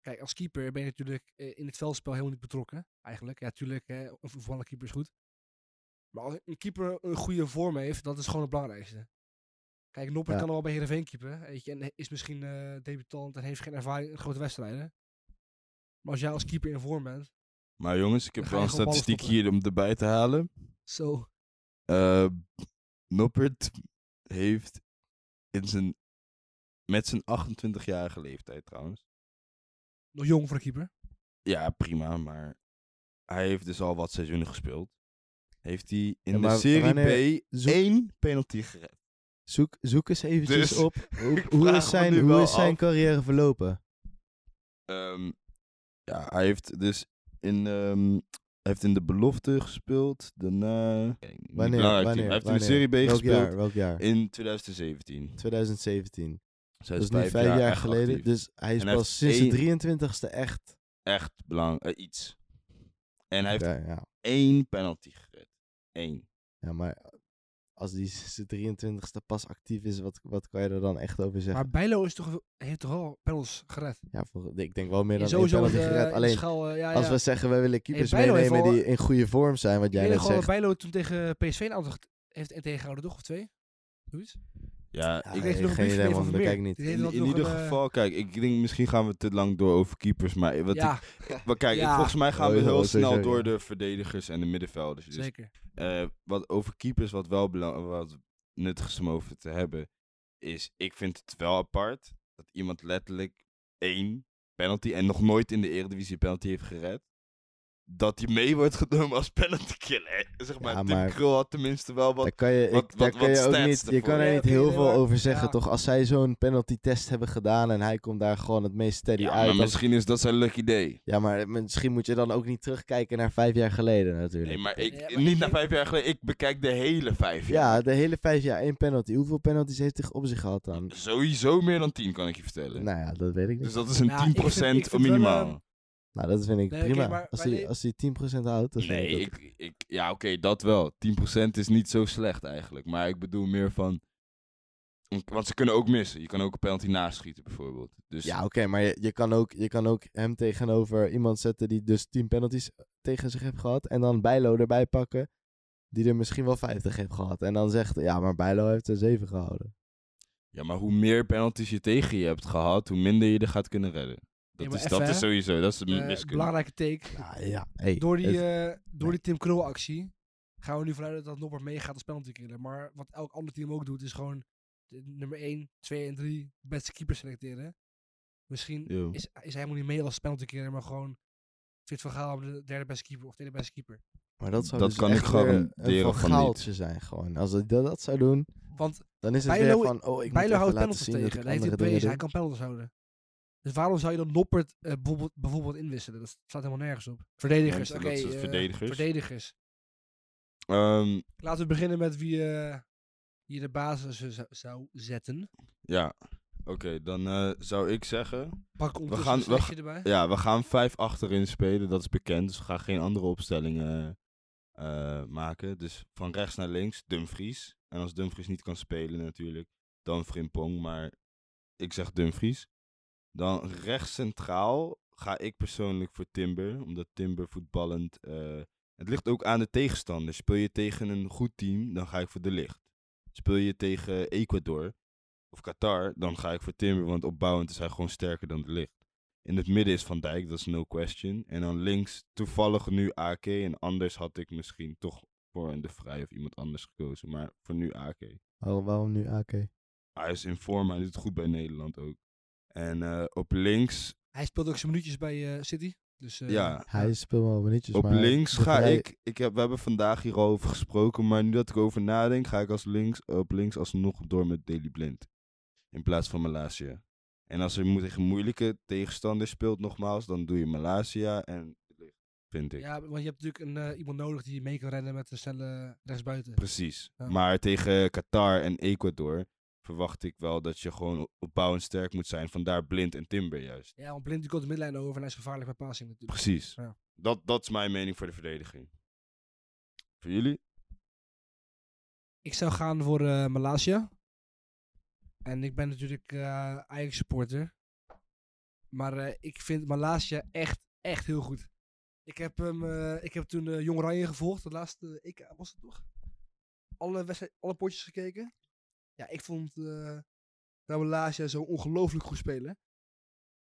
B: Kijk, als keeper ben je natuurlijk eh, in het veldspel helemaal niet betrokken, eigenlijk. Ja, tuurlijk, hè, een voetballer keeper is goed. Maar als een keeper een goede vorm heeft, dat is gewoon het belangrijkste. Kijk, Nopper
A: Ja.
B: kan al wel bij Heerenveen keeper, weet je, en is misschien eh, debutant en heeft geen ervaring in grote wedstrijden. Maar als jij als keeper in vorm bent,
C: Maar jongens, ik heb
B: Dan ga
C: wel
B: je
C: een
B: gewoon ballen
C: statistiek
B: stoppen.
C: hier om erbij te halen.
B: zo...
C: Eh, Noppert heeft in zijn, met zijn 28-jarige leeftijd trouwens.
B: Nog jong voor een keeper.
C: Ja, prima, maar hij heeft dus al wat seizoenen gespeeld. Heeft hij in
A: Ja, maar
C: de Serie
A: wanneer-
C: B
A: zoek-
C: één penalty gered.
A: Zoek, zoek eens eventjes
C: Dus,
A: op hoe,
C: ik
A: hoe
C: vraag
A: is,
C: me
A: zijn,
C: nu
A: hoe
C: wel
A: is zijn
C: af.
A: carrière verlopen.
C: Ehm, Ja, hij heeft dus in, ehm, hij heeft in de belofte gespeeld. Daarna. Niet
A: Wanneer?
C: belangrijk,
A: wanneer
C: Hij heeft
A: wanneer?
C: in de Serie B
A: Welk
C: gespeeld
A: Jaar, welk jaar?
C: in 2017.
A: 2017.
C: Dus hij
A: Dat is nu vijf jaar,
C: echt
A: geleden.
C: actief.
A: Dus hij is
C: En hij
A: pas
C: heeft
A: sinds de
C: één-
A: 23 e echt.
C: Echt belangrijk, iets. En hij heeft
A: Ja, ja.
C: één penalty gered. Eén.
A: ja, maar als die sinds de 23 e pas actief is, wat, wat kan je er dan echt over zeggen?
B: Maar Bijlo is toch, heeft toch wel panels gered?
A: ja, voor- ik denk wel meer
B: En
A: dan één
B: sowieso
A: penalty
B: met, eh,
A: gered.
B: in
A: Alleen,
B: schaal, eh, ja,
A: als
B: ja.
A: we zeggen, we willen keepers
B: Bijlo heeft
A: meenemen
B: al-
A: die in goede vorm zijn, wat jij
B: Ik weet
A: net
B: nog wel dat
A: zegt.
B: Bijlo toen tegen PSV een aantal get- heeft en tegengehouden, toch? Of twee? Zoiets?
C: Ja,
A: Ja,
C: ik,
B: kreeg
A: Ah, nee,
B: nog een
A: geen
B: brief
A: idee,
B: van
A: man, dat
B: Vermeer.
A: kijk ik niet.
B: Die heeft
C: in,
B: dat
C: in
B: nog
C: ieder
B: een, eh,
C: geval, kijk, ik denk misschien gaan we te lang door over keepers. Maar wat
B: ja,
C: ik, maar kijk, ik-
B: Ja.
C: volgens mij gaan
A: Oh,
C: we
A: joh,
C: heel
A: sowieso,
C: snel
A: ja.
C: door de verdedigers en de middenvelders. Dus
B: zeker.
C: Eh, wat over keepers wat wel belang wat nuttig is om over te hebben, is ik vind het wel apart dat iemand letterlijk één penalty en nog nooit in de Eredivisie een penalty heeft gered. Dat die mee wordt genomen als penalty killer. Zeg maar,
A: Ja,
C: Tim
A: maar-
C: Krul had tenminste wel wat.
A: Daar kan je, ik,
C: wat-
A: daar
C: wat-
A: kan
C: wat
A: je ook
C: stats
A: niet, je
C: ervoor?
A: kan er
B: Ja,
A: niet
B: oké,
A: heel
B: nee,
A: veel
B: maar-
A: over zeggen,
B: ja.
A: toch? Als zij zo'n penalty test hebben gedaan en hij komt daar gewoon het meest steady
C: Ja,
A: uit.
C: maar
A: dan-
C: misschien is dat zijn lucky day.
A: ja, maar misschien moet je dan ook niet terugkijken naar vijf jaar geleden natuurlijk.
C: Nee, maar ik,
B: Ja, maar ik
C: niet na
B: denk-
C: vijf jaar geleden. Ik bekijk de hele vijf jaar.
A: Ja, de hele vijf jaar één penalty. Hoeveel penalties heeft hij op zich gehad dan?
C: Sowieso meer dan tien, kan ik je vertellen.
A: Nou ja, dat weet ik niet.
C: Dus dat is een
B: Nou,
C: 10%
B: ik vind- ik vind wel,
C: minimaal.
B: ehm,
A: Nou, dat vind ik
B: Nee, oké,
A: prima.
B: maar
A: als,
B: bij
A: hij,
B: de-
A: als hij 10% houdt, dan vind
C: Nee,
A: ik dat-
C: ik, ik, ja, oké, dat wel. 10% is niet zo slecht eigenlijk. Maar ik bedoel meer van. Want ze kunnen ook missen. Je kan ook een penalty naschieten, bijvoorbeeld. Dus
A: Ja, oké, maar je, je, kan ook, je kan ook hem tegenover iemand zetten die dus 10 penalties tegen zich heeft gehad. En dan Bijlo erbij pakken, die er misschien wel 50 heeft gehad. En dan zegt, ja, maar Bijlo heeft er 7 gehouden.
C: Ja, maar hoe meer penalties je tegen je hebt gehad, hoe minder je er gaat kunnen redden. Dat,
B: Ja, maar
C: is,
B: even,
C: dat
B: hè.
C: is sowieso. Dat is de
B: Eh,
C: miskunde.
B: belangrijke take.
A: Nou ja, hey,
B: Door die,
A: het-
B: eh, door die Tim Krul actie gaan we nu vanuit dat- dat Norbert meegaat als penalty killer. Maar wat elk ander team ook doet is gewoon de nummer 1, 2 en 3 beste keepers selecteren. Misschien
C: Ja.
B: eh, is, is hij helemaal niet mee als penalty killer, maar gewoon Fit van Gaal de derde beste keeper of tweede beste keeper.
A: maar dat zou
C: dat
A: dus
C: kan
A: echt
C: ik
A: weer
C: garanderen
A: een
C: van
A: Van
C: niet.
A: Gaaltje zijn gewoon. Als hij dat, dat zou doen,
B: Want
A: dan is het
B: Bijlo-
A: weer van, oh, ik moet
B: Bijlo
A: even laten
B: houdt penalties
A: zien dat
B: tegen.
A: ik
B: Dat heeft
A: andere
B: hij
A: dingen
B: bewezen. Hij
A: doe.
B: kan penalties houden. Dus waarom zou je dan Noppert eh, bijvoorbeeld, bijvoorbeeld inwisselen? Dat slaat helemaal nergens op. Verdedigers,
C: Ja,
B: oké.
C: dat is
B: eh,
C: verdedigers.
B: Verdedigers.
C: Ehm,
B: Laten we beginnen met wie eh, hier de basis eh, zou- zou zetten.
C: ja, oké, dan eh, zou ik zeggen.
B: Pak ondertussen
C: gaan-
B: gaan,
C: we
B: een flesje erbij.
C: Ja, we gaan vijf achterin spelen, dat is bekend. Dus we gaan geen andere opstellingen eh, maken. Dus van rechts naar links, Dumfries. En als Dumfries niet kan spelen natuurlijk, dan Frimpong. Maar ik zeg Dumfries. Dan rechts centraal ga ik persoonlijk voor Timber. Omdat Timber voetballend... eh, het ligt ook aan de tegenstander. Speel je tegen een goed team, dan ga ik voor De Licht. Speel je tegen Ecuador of Qatar, dan ga ik voor Timber. Want opbouwend is hij gewoon sterker dan De Licht. In het midden is Van Dijk, dat is no question. En dan links toevallig nu AK. En anders had ik misschien toch voor een De Vrij of iemand anders gekozen. Maar voor nu AK.
A: Waarom- Oh, waarom nu Ah, AK?
C: Hij is in vorm, hij doet het goed bij Nederland ook. En eh, op links,
B: Hij speelde ook zijn minuutjes bij eh, City. Dus, eh,
C: ja.
A: Hij speelt wel minuutjes,
C: Op
A: maar
C: links
A: de
C: ga
A: vrij-
C: ik, ik heb, we hebben vandaag hier al over gesproken, maar nu dat ik over nadenk, ga ik als links, op links alsnog door met Daily Blind. In plaats van Malasia. En als er moet tegen moeilijke tegenstander speelt, nogmaals, dan doe je Malasia en vind ik.
B: ja, want je hebt natuurlijk een, eh, iemand nodig die mee kan rennen met een snelle rechtsbuiten.
C: Precies.
B: Ja.
C: Maar tegen Qatar en Ecuador verwacht ik wel dat je gewoon opbouwend sterk moet zijn. Vandaar Blind en Timber juist.
B: Ja, want Blind die komt de midlijn over en hij is gevaarlijk bij passing natuurlijk.
C: Precies.
B: Ja.
C: Dat, dat is mijn mening voor de verdediging. Voor jullie?
B: Ik zou gaan voor eh Malasia. En ik ben natuurlijk eh Ajax supporter. Maar eh, ik vind Malasia echt, echt heel goed. Ik heb, hem, eh, ik heb toen eh, Jong Oranje gevolgd. Dat laatste eh, ik was het toch? Alle, wedstrijd, alle potjes gekeken. Ja, ik vond eh nou Malasia zo ongelooflijk goed spelen.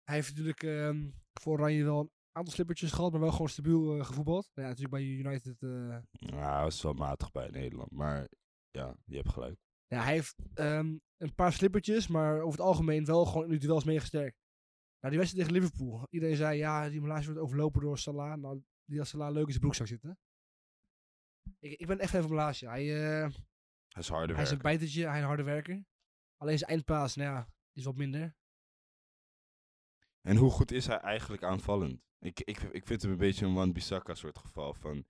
B: Hij heeft natuurlijk ehm, voor Oranje wel een aantal slippertjes gehad, maar wel gewoon stabiel eh, gevoetbald. Ja, natuurlijk bij United eh,
C: Nou, dat is wel matig bij Nederland. Maar ja, je hebt gelijk.
B: Ja, hij heeft ehm, een paar slippertjes, maar over het algemeen wel gewoon in de duels meegesterkt. Nou, die wedstrijd tegen Liverpool. Iedereen zei, ja, die Malasia wordt overlopen door Salah. Nou, die had Salah leuk in zijn broekzak zitten. Ik, ik ben echt fan van Malasia. Hij, eh,
C: Hij is harder
B: hij is een
C: werken.
B: bijtertje, hij is een harde werker. Alleen zijn eindpaas, nou ja, die is wat minder.
C: En hoe goed is hij eigenlijk aanvallend? Ik, ik, ik vind hem een beetje een Wan-Bissaka soort geval van...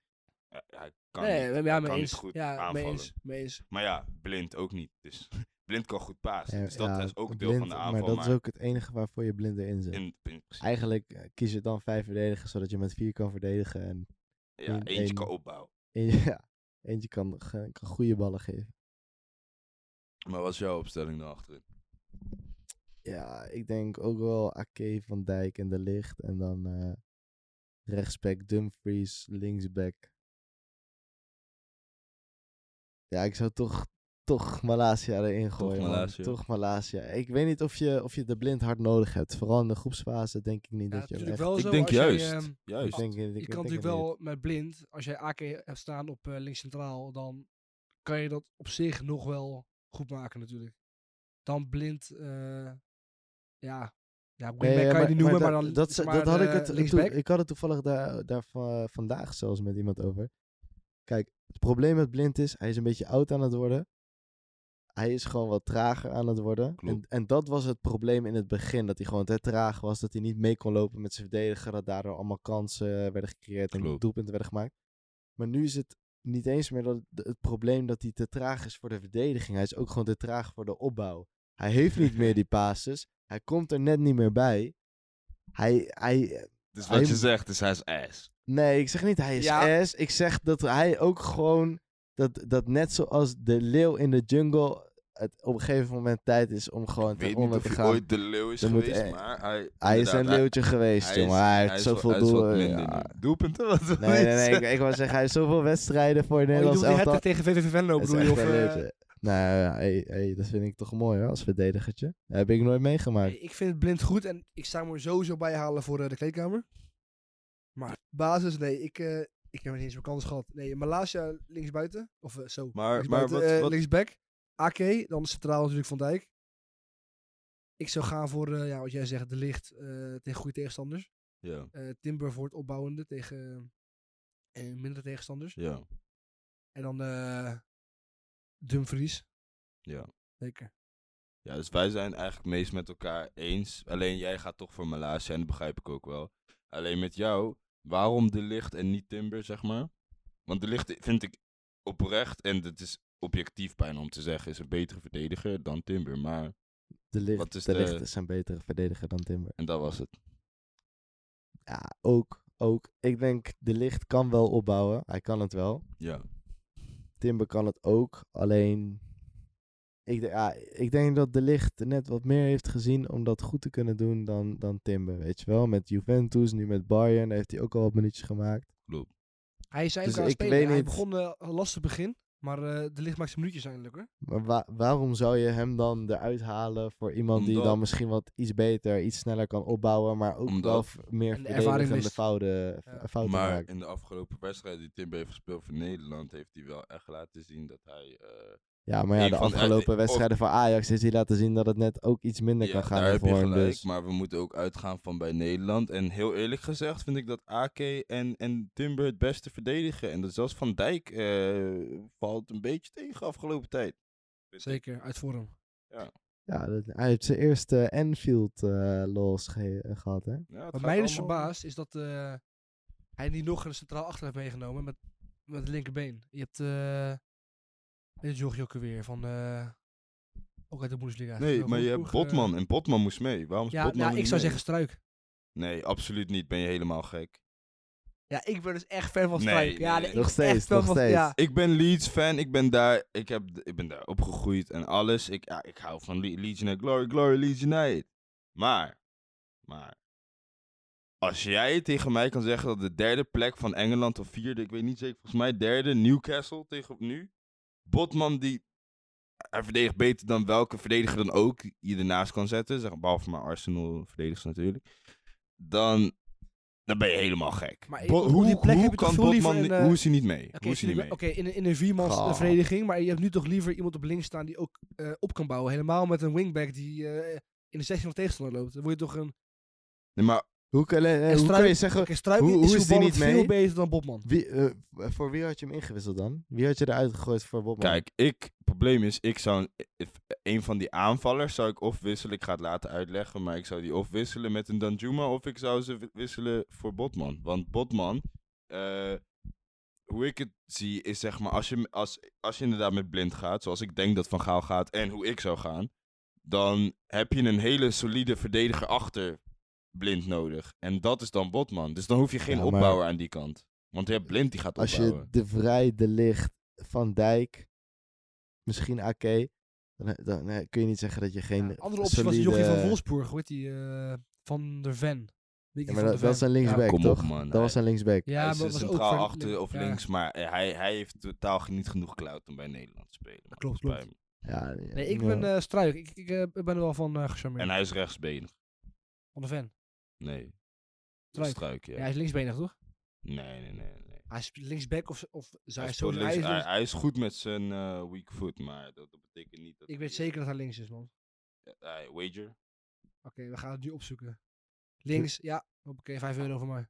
C: eh, hij kan
B: nee,
C: niet,
B: ja,
C: hij
B: mee
C: kan
B: eens.
C: niet goed
B: ja, mee
C: aanvallen.
B: eens, mee eens.
C: Maar ja, Blind ook niet. Dus Blind kan goed pasen.
A: Ja,
C: dus dat
A: ja,
C: is ook deel
A: blind,
C: van de aanval.
A: Maar dat is ook het enige waarvoor je blind erin zit.
C: in, in principe,
A: Eigenlijk eh, kies je dan vijf verdedigers, zodat je met vier kan verdedigen. En in
C: ja, eentje
A: één-
C: kan opbouwen.
A: en ja, eentje kan, ge- kan goede ballen geven.
C: Maar wat is jouw opstelling dan achterin?
A: Ja, ik denk ook wel Ake, Van Dijk en De Licht. En dan eh rechtsback Dumfries, linksback. Ja, ik zou toch, toch Malasia erin gooien. man.
C: Malasia.
A: Toch Malasia. Ik weet niet of je, of je de blind hard nodig hebt. Vooral in de groepsfase denk ik niet
B: Ja,
A: dat je hem echt...
B: natuurlijk wel zo,
C: ik denk
B: als jij,
C: juist.
B: ehm,
A: Ik
C: juist.
A: denk, ik,
B: Je
A: ik
B: kan
A: denk het
B: natuurlijk wel met blind, als jij AK hebt staan op eh, links centraal, dan kan je dat op zich nog wel goed maken natuurlijk. Dan blind, eh, ja, ja wingback
A: Nee,
B: kan
A: maar-
B: je niet noemen, maar,
A: dat-
B: dan
A: dat,
B: zeg
A: dat had
B: maar,
A: ik
B: eh,
A: het.
B: linksback.
A: toe- ik had het toevallig daar, daar va- vandaag zelfs met iemand over. Kijk, het probleem met blind is, hij is een beetje oud aan het worden. Hij is gewoon wat trager aan het worden. En,
C: Klopt.
A: en dat was het probleem in het begin. Dat hij gewoon te traag was. Dat hij niet mee kon lopen met zijn verdediger. Dat daardoor allemaal kansen eh, werden gecreëerd en
C: Klopt.
A: doelpunten werden gemaakt. Maar nu is het niet eens meer dat het, het probleem dat hij te traag is voor de verdediging. Hij is ook gewoon te traag voor de opbouw. Hij heeft niet meer die passes. Hij komt er net niet meer bij. Hij, hij,
C: Dus
A: Hij-
C: wat je zegt is hij is ass.
A: nee, ik zeg niet hij is
B: Ja.
A: ass. Ik zeg dat hij ook gewoon, dat, dat net zoals de leeuw in de jungle, het op een gegeven moment tijd is om gewoon
C: Ik weet
A: te
C: niet
A: onder
C: of
A: te
C: hij
A: gaan.
C: ooit de leeuw is
A: Dan moet
C: geweest,
A: hij-
C: maar hij...
A: Hij is
C: inderdaad,
A: een leeuwtje geweest,
C: is-
A: jongen. Hij heeft
C: is
A: zoveel
C: wat- hij is wat
A: doelen.
C: minder
A: ja.
C: nu. Doelpunten? Wat wil
A: Nee,
C: je
A: nee, nee.
C: zeggen?
A: Ik, ik wou zeggen, hij heeft zoveel wedstrijden voor het
B: Oh, je
A: Nederlands
B: bedoelt die
A: elftal.
B: hat tegen VVV
A: Dat
B: Venlo bedoel je?
A: is
B: Of,
A: echt wel leuk,
B: eh,
A: hè. nou ja, hey, hey, dat vind ik toch mooi hoor, als verdedigertje. Dat heb ik nooit meegemaakt.
B: nee, ik vind blind goed en ik sta hem er sowieso bij halen voor eh, de kleedkamer. Maar basis, nee, ik, eh, ik heb niet eens mijn kans gehad. Nee, Malaysia linksbuiten, of eh, zo.
C: Maar, maar
B: Linksbuiten,
C: wat,
B: eh,
C: wat-
B: linksback. AK, dan centraal natuurlijk Van Dijk. Ik zou gaan voor, eh, ja, wat jij zegt, de licht eh, tegen goede tegenstanders.
C: Ja,
B: Eh, Timber voor het opbouwende tegen eh, mindere tegenstanders.
C: ja,
B: En dan eh, Dumfries.
C: ja.
B: Zeker.
C: Ja, dus wij zijn eigenlijk meest met elkaar eens. Alleen jij gaat toch voor Malaysia en dat begrijp ik ook wel. Alleen met jou, waarom De Licht en niet Timber, zeg maar? Want De Licht vind ik oprecht, en dat is objectief bijna om te zeggen, is een betere verdediger dan Timber. Maar,
A: De, licht,
C: Wat is
A: de,
C: de-
A: lichten zijn betere verdediger dan Timber.
C: en dat was het.
A: Ja, ook, ook. Ik denk, de licht kan wel opbouwen. Hij kan het wel.
C: Ja.
A: Timber kan het ook. Alleen, ik, de- ja, ik denk dat de licht net wat meer heeft gezien om dat goed te kunnen doen dan, dan Timber. Weet je wel, met Juventus, nu met Bayern heeft hij ook al wat minuutjes gemaakt.
B: Hij zei
A: Dus
B: ook aan het
A: ik
B: spelen.
A: weet
B: Hij
A: niet-
B: begon eh, lastig begin. Maar eh, de licht maakt zijn minuutjes eindelijk hoor.
A: Maar wa- waarom zou je hem dan eruit halen voor iemand die
C: Omdat-
A: dan misschien wat iets beter, iets sneller kan opbouwen, maar ook
C: Omdat-
A: wel f- meer
B: En de ervaring
A: verdedigende
B: mist.
A: fouten, eh,
B: Ja.
A: fouten
C: Maar
A: maakt?
C: in de afgelopen wedstrijd die Timber heeft gespeeld voor Nederland, heeft hij wel echt laten zien dat hij... eh,
A: Ja, maar ja,
C: Eén
A: de
C: van de-
A: afgelopen
C: of-
A: wedstrijden van Ajax heeft hij laten zien dat het net ook iets minder kan gaan
C: oh. daar
A: dan
C: heb
A: voor
C: je
A: hem.
C: gelijk,
A: Dus
C: maar we moeten ook uitgaan van bij Nederland. En heel eerlijk gezegd vind ik dat AK en, en Timber het beste verdedigen. En dat zelfs Van Dijk eh, valt een beetje tegen afgelopen tijd. Vind ik.
B: Zeker, uit vorm.
A: ja, dat- hij heeft zijn eerste Enfield eh los ge- eh, gehad, hè?
C: Ja, het
B: Wat
C: gaat
B: mij dus
C: allemaal-
B: verbaast is dat eh, hij niet nog een centraal achter heeft meegenomen met, met het linkerbeen. Je hebt eh weet je jochie ook weer van eh, ook uit de Bundesliga.
C: Nee,
B: Van
C: maar je hebt
B: Wolfsburg, eh,
C: Botman en Botman moest mee. Waarom is
B: ja,
C: Botman
B: nou,
C: niet
B: ik zou
C: mee?
B: zeggen Struik.
C: Nee, absoluut niet. Ben je helemaal gek.
B: Ja, ik ben dus echt fan van
C: Nee,
B: Struik.
C: nee,
B: ja,
C: nee.
B: ik ben
A: Nog
B: echt
A: steeds,
B: fan
A: nog
B: van-
A: steeds.
B: Ja,
C: Ik ben Leeds fan. Ik ben daar, ik heb, ik ben daar opgegroeid en alles. Ik, ja, ik hou van Le Legion United. Glory, glory, Leeds United. Maar, maar. Als jij tegen mij kan zeggen dat de derde plek van Engeland of vierde, ik weet niet zeker, volgens mij derde, Newcastle tegen nu. Botman die, hij verdedigt beter dan welke verdediger dan ook je ernaast kan zetten. Zeg, behalve maar Arsenal verdedigers natuurlijk. Dan, dan ben je helemaal gek.
B: Maar
C: Bo-
B: op
C: hoe
B: die plek
C: hoe
B: heb je
C: kan
B: toch veel liever
C: Botman,
B: een,
C: ni-
B: eh,
C: hoe is hij niet mee?
B: Oké,
C: hoe is hij niet
B: natuurlijk-
C: mee?
B: oké, in, een- in een viermans eh,
A: Goh.
B: verdediging, maar je hebt nu toch liever iemand op links staan die ook eh, op kan bouwen. Helemaal met een wingback die eh, in de 16 van tegenstander loopt. Dan word je toch een
C: Nee, maar
A: Hoe kan, eh, hoe
B: Struik-
A: kan je zeggen...
B: Kijk, Struik
A: Hoe- hoe
B: is,
A: is die
B: voetballend
A: niet
B: veel
A: mee?
B: beter dan Bobman.
A: Wie, eh, voor wie had je hem ingewisseld dan? Wie had je eruit gegooid voor Bobman?
C: Kijk, ik, het probleem is, ik zou een, een van die aanvallers zou ik of wisselen, ik ga het later uitleggen, maar ik zou die of wisselen met een Danjuma of ik zou ze wi- wisselen voor Botman. Want Botman, eh, hoe ik het zie, is zeg maar, als je, m- als, als je inderdaad met blind gaat, zoals ik denk dat Van Gaal gaat en hoe ik zou gaan, dan heb je een hele solide verdediger achter blind nodig. En dat is dan Botman. Dus dan hoef je geen
A: Ja, maar-
C: opbouwer aan die kant. Want je hebt blind die gaat
A: Als
C: opbouwen.
A: je De Vrij, De Licht, Van Dijk, misschien AK, dan, dan eh, kun je niet zeggen dat je geen eh,
B: Ja, andere optie was die
A: solide-
B: jochie van Wolfsburg, hoe heet die? eh, van der Ven. Nicky
A: Ja,
B: van
A: maar
B: der
A: dat, dat is
B: Ven.
A: een linksback,
C: Ja, kom op,
A: toch?
C: man.
A: Dat was een linksback.
B: Ja,
C: hij
B: maar
C: is eh,
B: dat was ook
C: centraal
B: voor-
C: achter of
B: ja.
C: links, maar eh, hij, hij heeft totaal ge- niet genoeg clout om bij Nederland te spelen. man.
B: Klopt,
C: Bij
B: klopt.
C: hem.
A: Ja, ja,
B: Nee, ik
A: ja.
B: ben eh Struik. Ik, ik eh, ben er wel van eh
C: En
B: gecharmeerd.
C: hij is rechtsbenig.
B: Van der Ven.
C: Nee.
B: Struik.
C: Struik. ja.
B: Ja, hij is linksbenig, toch?
C: Nee, nee, nee. nee.
B: Hij is linksback of, of zou hij
C: Hij,
B: zo
C: speelt links-
B: hij is
C: hij,
B: links-
C: hij is goed met zijn eh, weak foot, maar dat, dat betekent niet dat
B: Ik
C: hij,
B: weet zeker dat hij links is, man. Oké,
C: eh, hij- wager.
B: we gaan het nu opzoeken. Links, ja. Oké, 5 euro voor mij.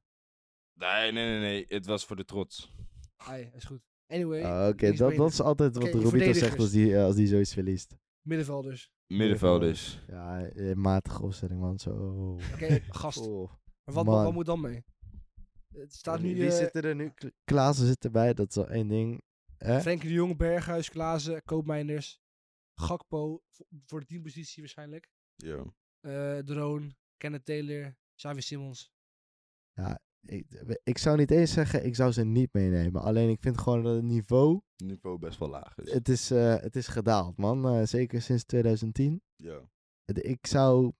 C: Nee, nee, nee, nee. Het was voor de trots.
B: Ai, is goed. Anyway,
A: Ah, Oké, dat,
B: linksbenig.
A: dat is altijd wat
B: Oké,
A: Robito zegt
B: verdedigers.
A: als die, eh, als die zoiets verliest.
B: middenvelders.
C: Middenvelders.
A: Ja, eh, matige opstelling, man. Zo.
B: Oké, gast.
A: Oh.
B: Maar wat,
A: man.
B: wat moet dan mee? Het staat nu...
A: Wie
B: eh,
A: zitten er nu? Kla- Klaassen zit erbij, dat is al één ding. Hè?
B: Frenkie de Jong, Berghuis, Klaassen, Koopmeiners, Gakpo vo- voor de teampositie waarschijnlijk.
C: Ja.
B: Eh Drone, Kenneth Taylor, Xavi Simmons.
A: Ik, ik zou niet eens zeggen, ik zou ze niet meenemen. Alleen ik vind gewoon dat het niveau,
C: Niveau best wel laag is.
A: het is, eh, het is gedaald, man. Eh, zeker sinds 2010.
C: Ja.
A: Het- Ik zou van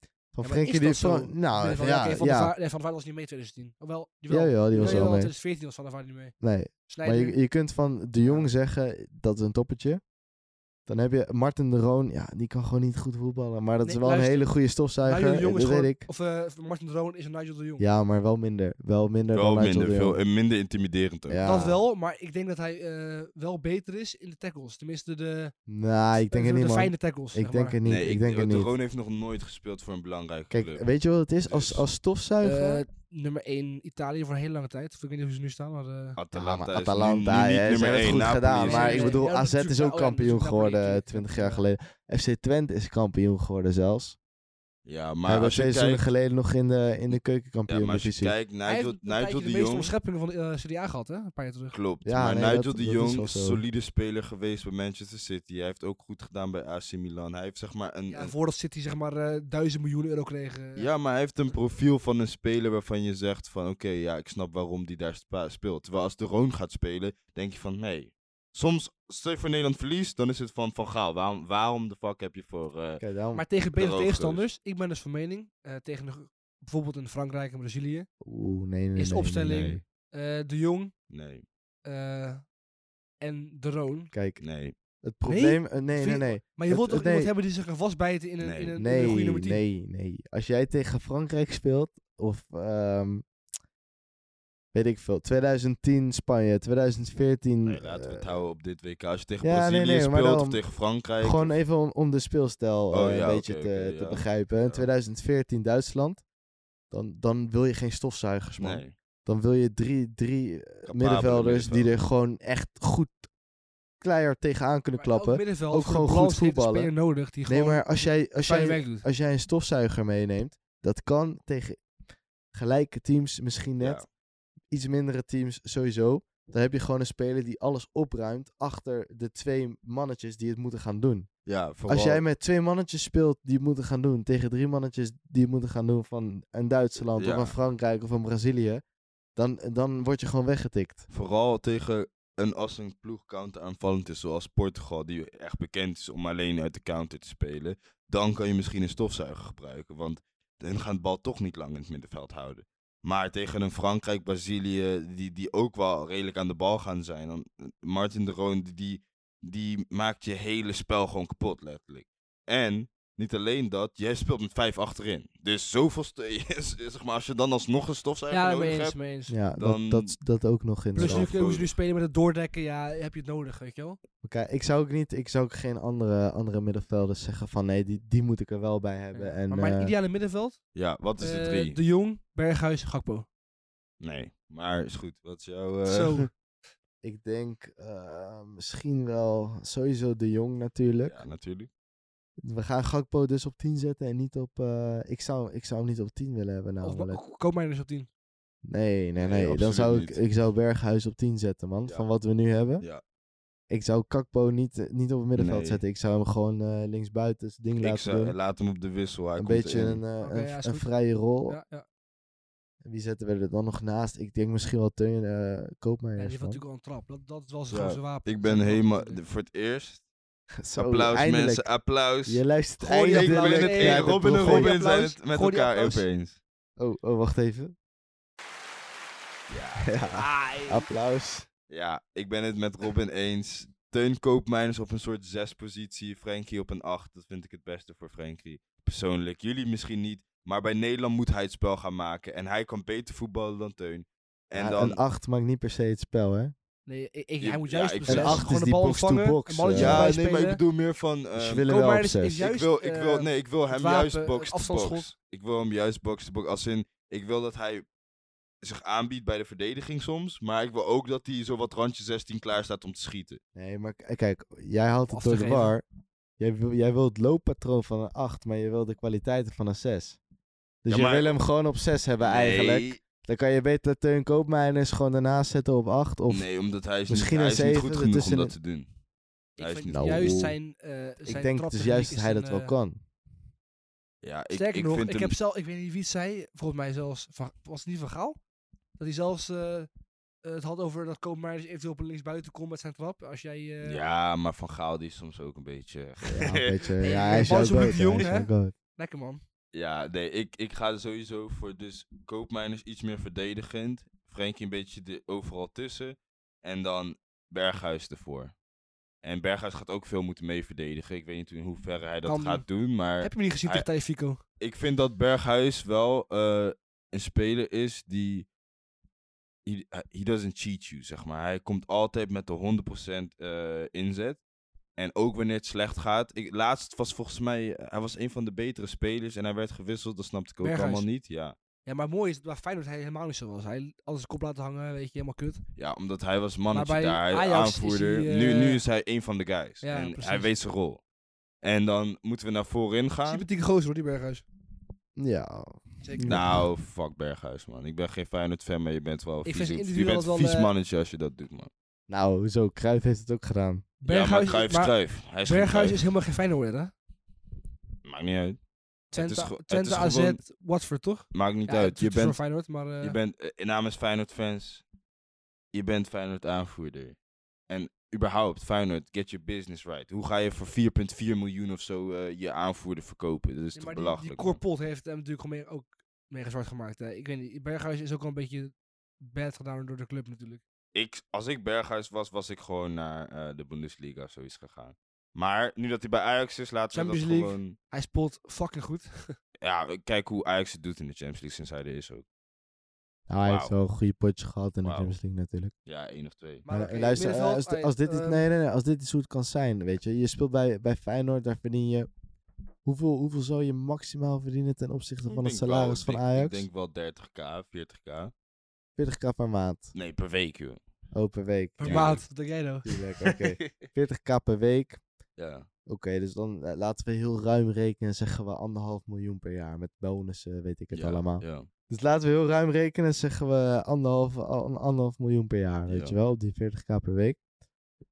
B: Ja, maar
A: Frenkie
B: is
A: de
B: dat zo?
A: Jong- Nou,
B: Nee,
A: ja,
B: van,
A: ja,
B: oké,
A: ja,
B: van, der Vaart- nee, van der Vaart was niet mee in 2010. Oh, wel, jawel.
A: Jawel, die was
B: Jawel,
A: wel mee.
B: 2014 was Van der Vaart niet mee.
A: Nee, maar
B: Sneijder,
A: je, je kunt van de Jong zeggen, dat is een toppetje. Dan heb je Martin de Roon, ja, die kan gewoon niet goed voetballen. Maar dat
B: Nee,
A: is wel
B: luister,
A: een hele goede
B: Nigel
A: stofzuiger,
B: de Jong
A: dat
B: is gewoon...
A: weet ik.
B: Of eh, Martin Drone is een Nigel de Jong.
A: Ja, maar wel minder. Wel minder
C: Wel
A: dan Nigel
C: minder,
A: de Jong.
C: veel, en minder intimiderend ook.
A: Ja.
B: Dat wel, maar ik denk dat hij eh, wel beter is in de tackles. Tenminste, de,
A: Nou, ik denk
B: de,
A: het
B: de
A: niet, man.
B: fijne tackles.
A: Ik
B: zeg
A: denk
B: maar.
A: het niet. Ik denk het
C: de
A: niet.
C: Roon heeft nog nooit gespeeld voor een belangrijke club.
A: Kijk, weet je wat het is? Als,
C: Dus-
A: als stofzuiger...
B: Eh, nummer 1 Italië voor een hele lange tijd. Of ik weet niet hoe ze nu staan, maar... eh,
C: Atalanta,
A: Ja,
C: is
A: Ah, maar
C: nu-
A: Atalanta,
C: nu, niet
A: hè, ze
C: nummer
A: hebben het
C: 1.
A: goed gedaan.
B: is-
A: Maar
B: Nee,
A: ik
B: nee,
A: bedoel,
B: nee, dat
A: AZ
B: is
A: is ook
B: natuurlijk- oh ja, dat is
A: kampioen
B: natuurlijk Napoli,
A: geworden
B: natuurlijk.
A: 20 jaar
B: Ja.
A: geleden. FC Twente is kampioen geworden zelfs.
C: Ja,
A: Maar
C: maar
A: hebben
C: als je
A: twee seizoenen
C: kijkt,
A: geleden nog in de, in de
C: ja, maar als je
A: keukenkampioen-divisie.
C: kijkt
B: hij heeft
C: Nigel,
B: een tijdje
C: Nigel
B: de
C: de
B: meeste
C: Jong
B: omscheppingen van de eh, CDA gehad, hè? Een paar jaar terug.
C: klopt.
A: Ja,
C: maar
A: nee,
C: Nigel
A: dat-
C: de
A: dat is
C: Jong
A: wel
C: is
A: zo.
C: een solide speler geweest bij Manchester City. Hij heeft ook goed gedaan bij AC Milan. Hij heeft zeg maar een,
B: Ja,
C: een-
B: voordat City zeg maar eh, duizend miljoen euro kreeg. eh,
C: Mm, ja, maar hij heeft een profiel van een speler waarvan je zegt van oké, ja, ik snap waarom die daar spa- speelt. Terwijl als de Roon gaat spelen, denk je van nee. Soms, stel je voor Nederland verliest, dan is het van Van Gaal. Waarom, waarom de fuck heb je voor... eh,
A: Kijk, daarom-
B: Maar tegen
C: Droog
B: betere
C: dus.
B: tegenstanders, ik ben dus van mening, eh, tegen de- bijvoorbeeld in Frankrijk en Brazilië,
A: Oeh, nee, nee, nee.
B: is de
A: nee,
B: opstelling
A: nee.
B: eh, De Jong
C: nee,
B: eh, en De Roon.
A: Kijk,
C: nee.
A: het probleem... eh, Nee,
B: Vind
A: nee,
B: je-
A: nee.
B: Maar je
A: Het-
B: wilt ook
A: nee.
B: iemand hebben die zich kan vastbijten in een,
C: Nee.
B: in een, in een goede
A: Nee,
B: nummer 10.
A: nee, nee. Als jij tegen Frankrijk speelt, of ehm, weet ik veel, 2010 Spanje, 2014.
C: Nee, laten we het
A: eh,
C: houden op dit WK. Als je tegen
A: ja, nee,
C: Brazilië
A: nee, maar
C: speelt
A: daarom-
C: of tegen Frankrijk...
A: Gewoon even om, om de speelstijl
C: Oh,
A: eh,
C: ja,
A: een beetje
C: oké,
A: te,
C: oké,
A: te
C: ja.
A: begrijpen. In
C: Ja.
A: 2014 Duitsland, dan, dan wil je geen stofzuigers, man.
C: Nee.
A: Dan wil je drie, drie eh,
C: Capabele
A: middenvelders die er
C: middenvelders.
A: gewoon echt goed keihard tegenaan kunnen
B: Maar elk
A: klappen.
B: middenveld
A: Ook
B: voor
A: gewoon
B: een
A: goed
B: balgezette
A: voetballen.
B: speler nodig die
A: Nee,
B: gewoon
A: maar als jij, als
B: fijn
A: jij
B: werk doet.
A: als jij een stofzuiger meeneemt, dat kan tegen gelijke teams misschien net.
C: Ja.
A: Iets mindere teams sowieso. Dan heb je gewoon een speler die alles opruimt achter de twee mannetjes die het moeten gaan doen.
C: Ja, vooral...
A: Als jij met twee mannetjes speelt die het moeten gaan doen, tegen drie mannetjes die het moeten gaan doen van een Duitsland
C: Ja.
A: of een Frankrijk of een Brazilië, dan, dan word je gewoon weggetikt.
C: Vooral tegen een als een ploeg counteraanvallend is, zoals Portugal, die echt bekend is om alleen uit de counter te spelen. Dan kan je misschien een stofzuiger gebruiken, want hun gaan de bal toch niet lang in het middenveld houden. Maar tegen een Frankrijk, Brazilië, die, die ook wel redelijk aan de bal gaan zijn. Dan, eh, Martin de Roon, die, die maakt je hele spel gewoon kapot, letterlijk. En Niet alleen dat, jij speelt met vijf achterin. Dus zoveel... st- zeg maar, als je dan alsnog een stofzuiger
B: Ja,
C: nodig
B: mee eens,
C: hebt...
B: mee eens.
A: Ja,
C: Dan-
A: dat, dat, dat ook nog in.
B: Plus
C: Zelf
B: nu, hoe ze nu
C: nodig.
B: spelen met het doordekken, ja, heb je het nodig, weet je wel?
A: Oké, ik zou ook niet, ik zou ook geen andere, andere middenvelders zeggen van nee, die, die moet ik er wel bij hebben.
B: Ja.
A: En,
B: maar mijn
A: eh,
B: ideale middenveld?
C: Ja, wat is de
B: eh,
C: drie?
B: de Jong, Berghuis, Gakpo.
C: Nee, maar is goed. Wat is jouw... eh,
B: Zo.
A: ik denk eh, misschien wel sowieso de Jong natuurlijk.
C: Ja, natuurlijk.
A: We gaan Gakpo dus op 10 zetten en niet op. eh, ik, zou, ik zou hem niet op 10 willen hebben
B: Of
A: namelijk.
B: ma- koop mij dus op 10.
A: Nee, nee,
C: Nee,
A: nee. Dan
C: absoluut
A: zou ik,
C: niet.
A: ik zou Berghuis op 10 zetten, man.
C: Ja.
A: Van wat we nu hebben.
C: Ja.
A: Ik zou Kakpo niet, eh, niet op het middenveld
C: Nee.
A: zetten. Ik zou hem gewoon eh linksbuiten zijn ding
C: Ik
A: laten
C: zou,
A: doen.
C: laat hem op de wissel. Hij
A: Een
C: komt
A: beetje
C: erin.
A: een, eh,
B: Oké,
A: een,
B: ja, is
A: een
B: goed.
A: vrije
C: Oh,
A: rol.
B: Ja, ja.
A: Wie zetten we er dan nog naast? Ik denk misschien wel Teun eh Koopmeijer.
B: Ja, die heeft
A: van.
B: natuurlijk al een trap. Dat, dat is wel zijn
C: Ja,
B: grootste
A: eh,
B: wapen.
C: Ik ben helemaal... de- Voor het eerst.
A: Zo,
C: applaus
A: Oh, eindelijk.
C: mensen, applaus.
A: Je luistert
C: Gooi ik
A: eindelijk
C: ben
B: applaus.
C: het
A: naar
B: Hey,
C: eens.
A: de
C: Robin en
A: profeet.
C: Robin zijn
B: applaus.
C: het met
B: Gooi die
C: elkaar
B: applaus.
C: opeens.
A: Oh, oh, wacht even.
C: Ja.
A: Ja,
B: Ah,
A: applaus.
C: ja, ik ben het met Robin eens. Teun Koopmeiners op een soort zes positie. Frenkie op een acht. Dat vind ik het beste voor Frenkie. Persoonlijk. Jullie misschien niet. Maar bij Nederland moet hij het spel gaan maken. En hij kan beter voetballen dan Teun. En
A: Ja,
C: dan...
A: Een 8 maakt niet per se het spel, hè?
B: Nee, ik, ik-
C: Je-
B: hij moet
C: ja,
B: juist
C: ik-
B: precies
C: Een acht dus
A: is
B: gewoon de
A: die
B: bal
A: box to
B: ontvangen,
A: box,
B: een balletje
A: eh,
C: ja,
B: erbij
C: nee, maar ik
B: spelen.
C: bedoel meer van...
A: Dus je
C: ehm,
A: wil hem wel op
B: Koopmeiners
A: zes.
B: is juist,
C: ik wil, ik wil,
B: eh,
C: nee, ik wil hem
B: het wapen,
C: juist box
B: het
C: to box.
B: afstandsschot.
C: Ik wil hem juist box to box. Als in, ik wil dat hij zich aanbiedt bij de verdediging soms. Maar ik wil ook dat hij zo wat randje 16 klaar staat om te schieten.
A: Nee, maar k- kijk, jij haalt
B: Af
A: het
B: te
A: door de
B: geven.
A: war. Jij wil, jij wil het looppatroon van een 8, maar je wil de kwaliteiten van een 6. Dus
C: Ja,
A: je
C: maar-
A: wil hem gewoon op 6 hebben eigenlijk.
C: Nee,
A: Dan kan je beter Teun Koopmeiners gewoon daarnaast zetten op 8. Of
C: nee, omdat hij is,
A: misschien
C: niet, hij
A: een
C: is niet
A: zeven,
C: goed
A: dat
C: genoeg
A: is
C: om
A: een-
C: dat te doen.
B: Ik
C: Hij is
B: vind
C: niet-
A: Nou,
B: juist
A: oeh.
B: zijn, eh zijn
A: ik denk
B: traptechniek
A: dus juist dat hij
B: is
A: dat wel
B: een, eh,
A: kan.
C: Ja, ik,
B: Sterker
C: ik
B: nog,
C: vind
B: ik
C: hem...
B: heb zelf, ik weet niet wie het zei, volgens mij zelfs, van, was het niet van Gaal? Dat hij zelfs eh, eh, het had over dat Koopmeijer eventueel op een linksbuiten komt met zijn trap. Als jij... eh,
C: Ja, maar Van Gaal die is soms ook een beetje...
A: Ja, weet je,
B: Nee,
A: ja,
B: maar
A: hij is
B: Bas
A: jouw
B: is ook niet
A: goat, hè,
B: jong,
A: hij is
B: hè?
A: jouw goat.
B: Lekker man.
C: Ja, nee, ik, ik ga er sowieso voor. Dus Koopmeiners iets meer verdedigend. Frenkie een beetje de, overal tussen. En dan Berghuis ervoor. En Berghuis gaat ook veel moeten mee verdedigen. Ik weet niet in hoeverre hij dat
B: Kan
C: gaat doen. Maar
B: Heb je hem niet gezien
C: hij-
B: tegen Fico?
C: ik vind dat Berghuis wel eh, een speler is die... He, he doesn't cheat you, zeg maar. Hij komt altijd met de 100% eh, inzet. En ook wanneer het slecht gaat. Ik, laatst was volgens mij... Hij was een van de betere spelers. En hij werd gewisseld. Dat snapte ik ook
B: Berghuis.
C: allemaal niet. Ja.
B: Ja, maar mooi is het bij Feyenoord hij helemaal niet zo was. Hij alles de kop laten hangen, weet je, helemaal kut.
C: Ja, omdat hij was mannetje
B: Maar bij
C: daar, hij
B: Ajax is
C: aanvoerder.
B: hij, eh,
C: nu, nu is hij een van de guys.
B: Ja,
C: en
B: precies.
C: hij weet zijn rol. En dan moeten we naar voorin gaan.
B: Sympathieke gozer hoor, die Berghuis.
A: Ja,
B: Zeker.
C: Nou, fuck Berghuis, man. Ik ben geen Feyenoord fan, maar je bent wel
B: Ik
C: vies,
B: vind het
C: je bent
B: individueel wel,
C: vies
B: eh,
C: mannetje als je dat doet, man.
A: nou, hoezo? Cruijff heeft het ook gedaan.
C: ja, maar
B: Berghuis,
C: Cruijff is
B: maar
C: Cruijff. Hij is geen
B: Berghuis is
C: Cruijff.
B: helemaal geen Feyenoord hè?
C: Maakt niet uit.
B: Twente,
C: ge- het
B: Twente
C: is
B: AZ,
C: gewoon-
B: Watford toch?
C: Maakt niet
B: Ja,
C: uit. Je
B: het is voor
C: bent,
B: Feyenoord, maar... eh,
C: je bent eh, namens Feyenoord fans, je bent Feyenoord aanvoerder. En überhaupt, Feyenoord, get your business right. Hoe ga je voor 4,4 miljoen of zo eh, je aanvoerder verkopen? Dat is
B: Ja,
C: toch
B: maar die, die
C: belachelijk. man.
B: Corpot heeft hem natuurlijk gewoon mee- ook mega zwart gemaakt. Hè. Ik weet niet, Berghuis is ook al een beetje bad gedaan door de club natuurlijk.
C: ik, als ik Berghuis was, was ik gewoon naar eh, de Bundesliga of zoiets gegaan. Maar nu dat hij bij Ajax is, laten we
B: Champions
C: dat
B: League.
C: gewoon...
B: Hij speelt fucking goed.
C: Ja, kijk hoe Ajax het doet in de Champions League sinds hij er is ook.
A: Nou, hij heeft
C: Wauw.
A: wel een goede potje gehad in de
C: Wauw.
A: Champions League natuurlijk.
C: Ja, één of twee.
A: Maar luister, eh, als,
B: ah,
A: di- als dit
B: ehm,
A: het, nee, nee, nee, als dit iets hoe het kan zijn, weet je. Je speelt bij, bij Feyenoord, daar verdien je... Hoeveel, hoeveel zou je maximaal verdienen ten opzichte
C: Ik
A: van het
C: denk wel,
A: salaris
C: ik
A: van
C: denk-
A: Ajax?
C: Ik denk wel 30k, 40k.
A: 40k per maand.
C: Nee, per week, joh.
A: Oh, per week.
B: Per
C: Ja.
B: maand, wat denk jij nou?
A: Tuurlijk, oké. 40k per week.
C: ja.
A: Oké, dus dan eh, laten we heel ruim rekenen, zeggen we anderhalf miljoen per jaar. Met bonussen, weet ik het
C: ja,
A: allemaal.
C: Ja.
A: Dus laten we heel ruim rekenen, zeggen we anderhalf, an- anderhalf miljoen per jaar, weet
C: Ja.
A: je wel, op die 40k per week.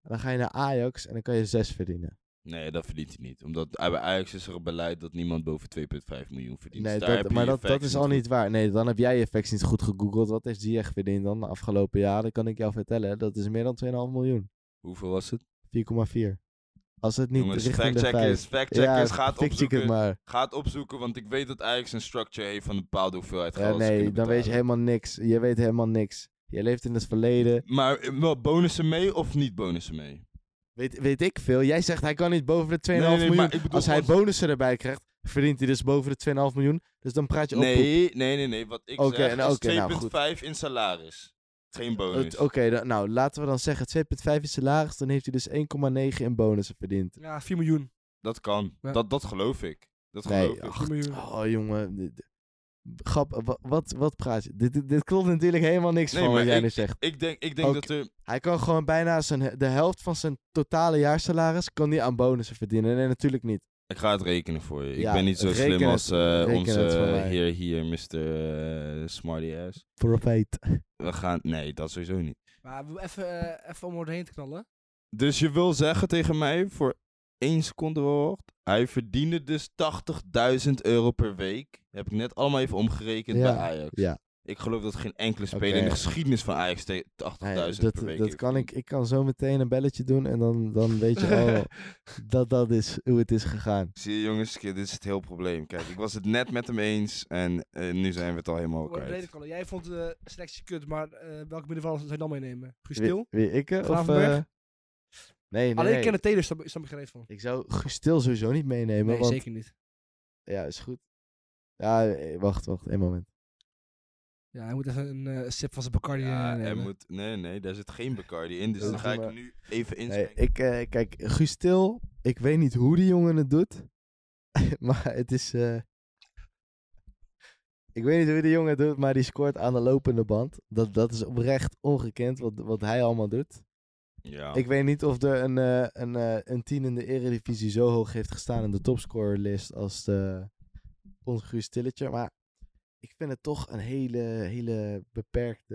A: En dan ga je naar Ajax en dan kan je 6 verdienen.
C: Nee, dat verdient hij niet. Omdat eh, bij Ajax is er een beleid dat niemand boven 2,5 miljoen verdient.
A: nee,
C: Dus daar heb
A: dat,
C: je
A: maar
C: je
A: dat, dat
C: facts
A: is al
C: goed.
A: niet waar. Nee, dan heb jij je facts niet goed gegoogeld. Wat heeft Ziyech verdiend dan de afgelopen jaren? Dat kan ik jou vertellen. Dat is meer dan 2,5 miljoen.
C: Hoeveel was het?
A: 4,4. Als het niet
C: Jongens,
A: richting de
C: factcheckers,
A: 5.
C: factcheckers, gaat
A: fact-check het
C: opzoeken.
A: maar.
C: Gaat opzoeken, want ik weet dat Ajax een structure heeft van een bepaalde hoeveelheid
A: Ja,
C: geld. ze
A: nee,
C: kunnen
A: dan weet je
C: betalen.
A: helemaal niks. Je weet helemaal niks. Je leeft in het verleden.
C: Maar eh, wel bonussen mee of niet bonussen mee?
A: Weet, weet ik veel. Jij zegt hij kan niet boven de 2,5
C: Nee, nee, maar
A: miljoen.
C: ik bedoel
A: als hij
C: als-
A: bonussen erbij krijgt, verdient hij dus boven de 2,5 miljoen. Dus dan praat je op.
C: Nee, nee, nee, nee. Wat ik
A: Oké,
C: zeg
A: nou,
C: is
A: oké, nou,
C: 2,5 in salaris. Geen bonus.
A: Oké, dan- nou laten we dan zeggen 2,5 is salaris. Dan heeft hij dus 1,9 in bonussen verdiend.
B: Ja, 4 miljoen.
C: Dat kan.
B: Ja.
C: Dat, dat geloof ik. Dat
A: Nee,
C: geloof ik.
A: ach,
B: 4 miljoen.
A: Oh jongen. dit- dit- Grap, wa- wat, wat praat je? Dit, dit, dit klopt natuurlijk helemaal niks
C: Nee,
A: van wat
C: maar
A: jij nu zegt.
C: Ik denk, ik denk
A: Ook-
C: dat er...
A: Hij kan gewoon bijna zijn, de helft van zijn totale jaarsalaris kan hij aan bonussen verdienen. Nee, natuurlijk niet.
C: Ik ga het rekenen voor je. Ik
A: Ja,
C: ben niet zo
A: reken
C: slim
A: het-
C: als eh,
A: reken
C: onze
A: het voor mij.
C: heer hier, Mr. eh, Smarty Ass.
A: Profeet.
C: We gaan... Nee, dat sowieso niet.
B: Maar we- even, eh, even om overheen te knallen.
C: Dus je wil zeggen tegen mij, voor één seconde wacht, hij verdiende dus 80.000 euro per week. Heb ik net allemaal even omgerekend
A: Ja,
C: bij Ajax.
A: ja.
C: Ik geloof dat geen enkele speler
A: Oké.
C: in de geschiedenis van Ajax te- 80.000
A: Nee, dat,
C: per week
A: dat
C: heeft
A: kan ik.
C: verdiend.
A: Ik kan zo meteen een belletje doen en dan, dan weet je al dat dat is hoe het is gegaan.
C: Zie je jongens, k- dit is het heel probleem. Kijk, ik was het net met hem eens en eh, nu zijn we het al helemaal
B: Om overheen te
C: kwijt.
B: knallen. Jij vond de selectie kut, maar eh welke middenvelder zou je dan meenemen? Gustil?
A: Wie, wie ik eh, of...
B: Gravenberg?
A: eh, nee, nee,
B: Alleen
A: nee.
B: Kenneth Taylor is daar- is daar begrepen van.
A: Ik zou Gustil sowieso niet meenemen,
B: Nee,
A: want...
B: zeker niet.
A: Ja, is goed. Ja, eh, wacht, wacht. Één moment.
B: Ja, hij moet even een eh, sip van zijn Bacardi
C: Ja,
B: eh,
C: er
B: nemen.
C: moet, nee, nee, daar zit geen Bacardi in, dus
A: Dat
C: dan ga
A: doen
C: ik
A: we.
C: nu even
A: Nee,
C: inschenken.
A: ik, eh, kijk, Gustil, ik weet niet hoe die jongen het doet. maar het is... eh, ik weet niet hoe die jongen het doet, maar die scoort aan de lopende band. Dat, dat is oprecht ongekend wat, wat hij allemaal doet.
C: ja.
A: Ik weet niet of er een, eh, een, eh, een tien in de eredivisie zo hoog heeft gestaan in de topscorerlist als de, ons Guus Tilletje. Maar ik vind het toch een hele, hele beperkte...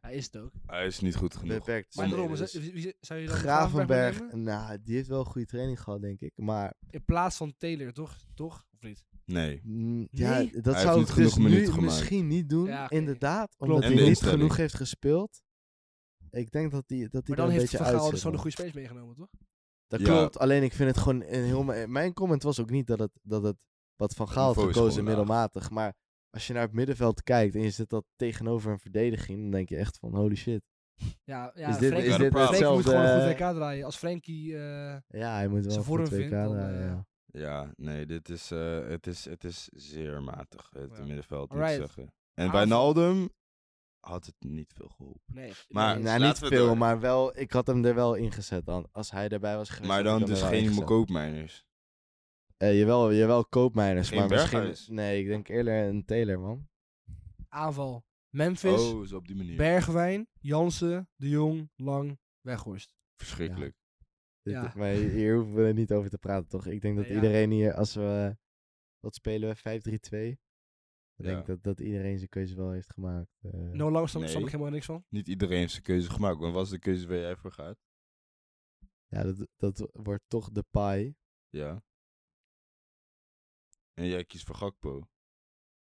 B: Hij is het ook.
C: Hij is niet goed genoeg.
A: beperkte
B: Maar
C: nee,
B: daarom,
C: dus-
B: z- wie- wie- zou je dan Gravenberg
A: Gravenberg,
B: meenemen?
A: nou, die heeft wel een goede training gehad, denk ik. Maar
B: In plaats van Taylor, toch? Toch? Of niet?
C: Nee.
A: mm, ja,
B: Nee?
A: dat
C: heeft
A: zou
C: niet
A: ik
C: genoeg
A: dus nu
C: minuten gemaakt.
A: misschien niet doen,
B: Ja, oké.
A: inderdaad.
B: Klopt.
A: Omdat
C: En
A: hij
C: de
A: niet
C: instelling.
A: genoeg heeft gespeeld. Ik denk dat hij dat die
B: Maar
A: er
B: dan
A: een
B: heeft
A: beetje
B: Van
A: uit
B: Gaal
A: zit,
B: dus zo'n
A: man.
B: goede space meegenomen, toch?
A: Dat
C: Ja.
A: klopt, alleen ik vind het gewoon een heel... ma- Mijn comment was ook niet dat het, dat het wat Van Gaal had
C: niveau is
A: gekozen
C: gewoon laag.
A: middelmatig. Maar als je naar het middenveld kijkt en je zet dat tegenover een verdediging, dan denk je echt van holy shit.
B: Ja, ja
A: is dit,
B: Frenkie-
A: is dit
C: Frenkie moet
B: Frenkie moet gewoon een
A: hetzelfde...
B: goed WK draaien. Als Frenkie... eh,
A: Ja, hij moet wel
B: zijn
A: een
B: vorm
A: goed WK
B: vindt, dan,
A: draaien,
B: eh,
A: ja.
C: Ja, nee, dit is, eh, het, is, het is zeer matig, het
B: Ja.
C: middenveld, moet
B: Alright.
C: ik zeggen. En
B: Aanval.
C: Wijnaldum had het niet veel geholpen.
B: nee.
C: Maar-
B: nee,
A: Nou,
C: laten
A: niet
C: we
A: veel,
C: door.
A: maar wel, ik had hem er wel ingezet dan. Als hij erbij was geweest.
C: Maar
A: had ik
C: dan
A: hem er
C: dus
A: wel
C: geen
A: ingezet.
C: koopmijners.
A: Eh, jawel, jawel, koopmijners.
C: Geen
A: maar
C: Berghuis.
A: misschien. Nee, ik denk eerder een Taylor, man.
B: aanval. Memphis,
C: Oh, zo op die manier.
B: Bergwijn, Jansen, De Jong, Lang, Weghorst.
C: Verschrikkelijk.
A: Dit-
B: Ja.
A: Maar hier- hier hoeven we niet over te praten, toch? Ik denk dat
B: Nee, ja.
A: iedereen hier, als we. Wat spelen we? 5-3-2. Ik
C: Ja.
A: denk dat, dat iedereen zijn keuze wel heeft gemaakt. eh.
B: No Lang snap snap
C: Nee.
B: ik helemaal niks van.
C: Niet iedereen heeft zijn keuze gemaakt. Want wat is de keuze waar jij voor gaat?
A: Ja, dat, dat wordt toch de pie.
C: Ja. En jij kiest voor Gakpo.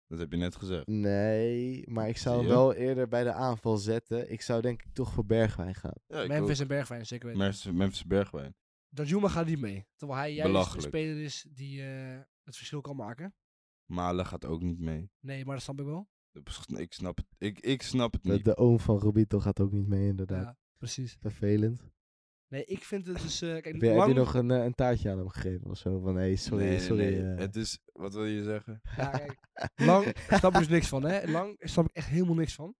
C: Dat heb je net gezegd.
A: Nee, maar ik zou
C: Zie
A: hem
C: je?
A: wel eerder bij de aanval zetten. Ik zou denk ik toch voor Bergwijn gaan.
C: Ja, ik
B: Memphis
C: ook.
B: en Bergwijn, zeker weten.
C: Memphis, Memphis Bergwijn.
B: Danjuma gaat niet mee. Terwijl hij juist een
C: Belachelijk.
B: speler is die eh, het verschil kan maken.
C: Malen gaat ook niet mee.
B: Nee, maar dat snap ik wel.
C: Ik snap het, ik, ik snap het
A: De,
C: niet.
A: de oom van Robito gaat ook niet mee, inderdaad.
B: Ja, precies.
A: Vervelend.
B: Nee, ik vind het dus... eh, kijk,
A: Heb je, heb je
B: lang,
A: nog een, eh, een taartje aan hem gegeven of zo? Van hey, sorry,
C: nee, nee,
A: sorry.
C: nee.
A: eh.
C: Het is, wat wil je zeggen?
B: Ja, kijk, lang snap ik dus niks van, hè. Lang snap ik echt helemaal niks van.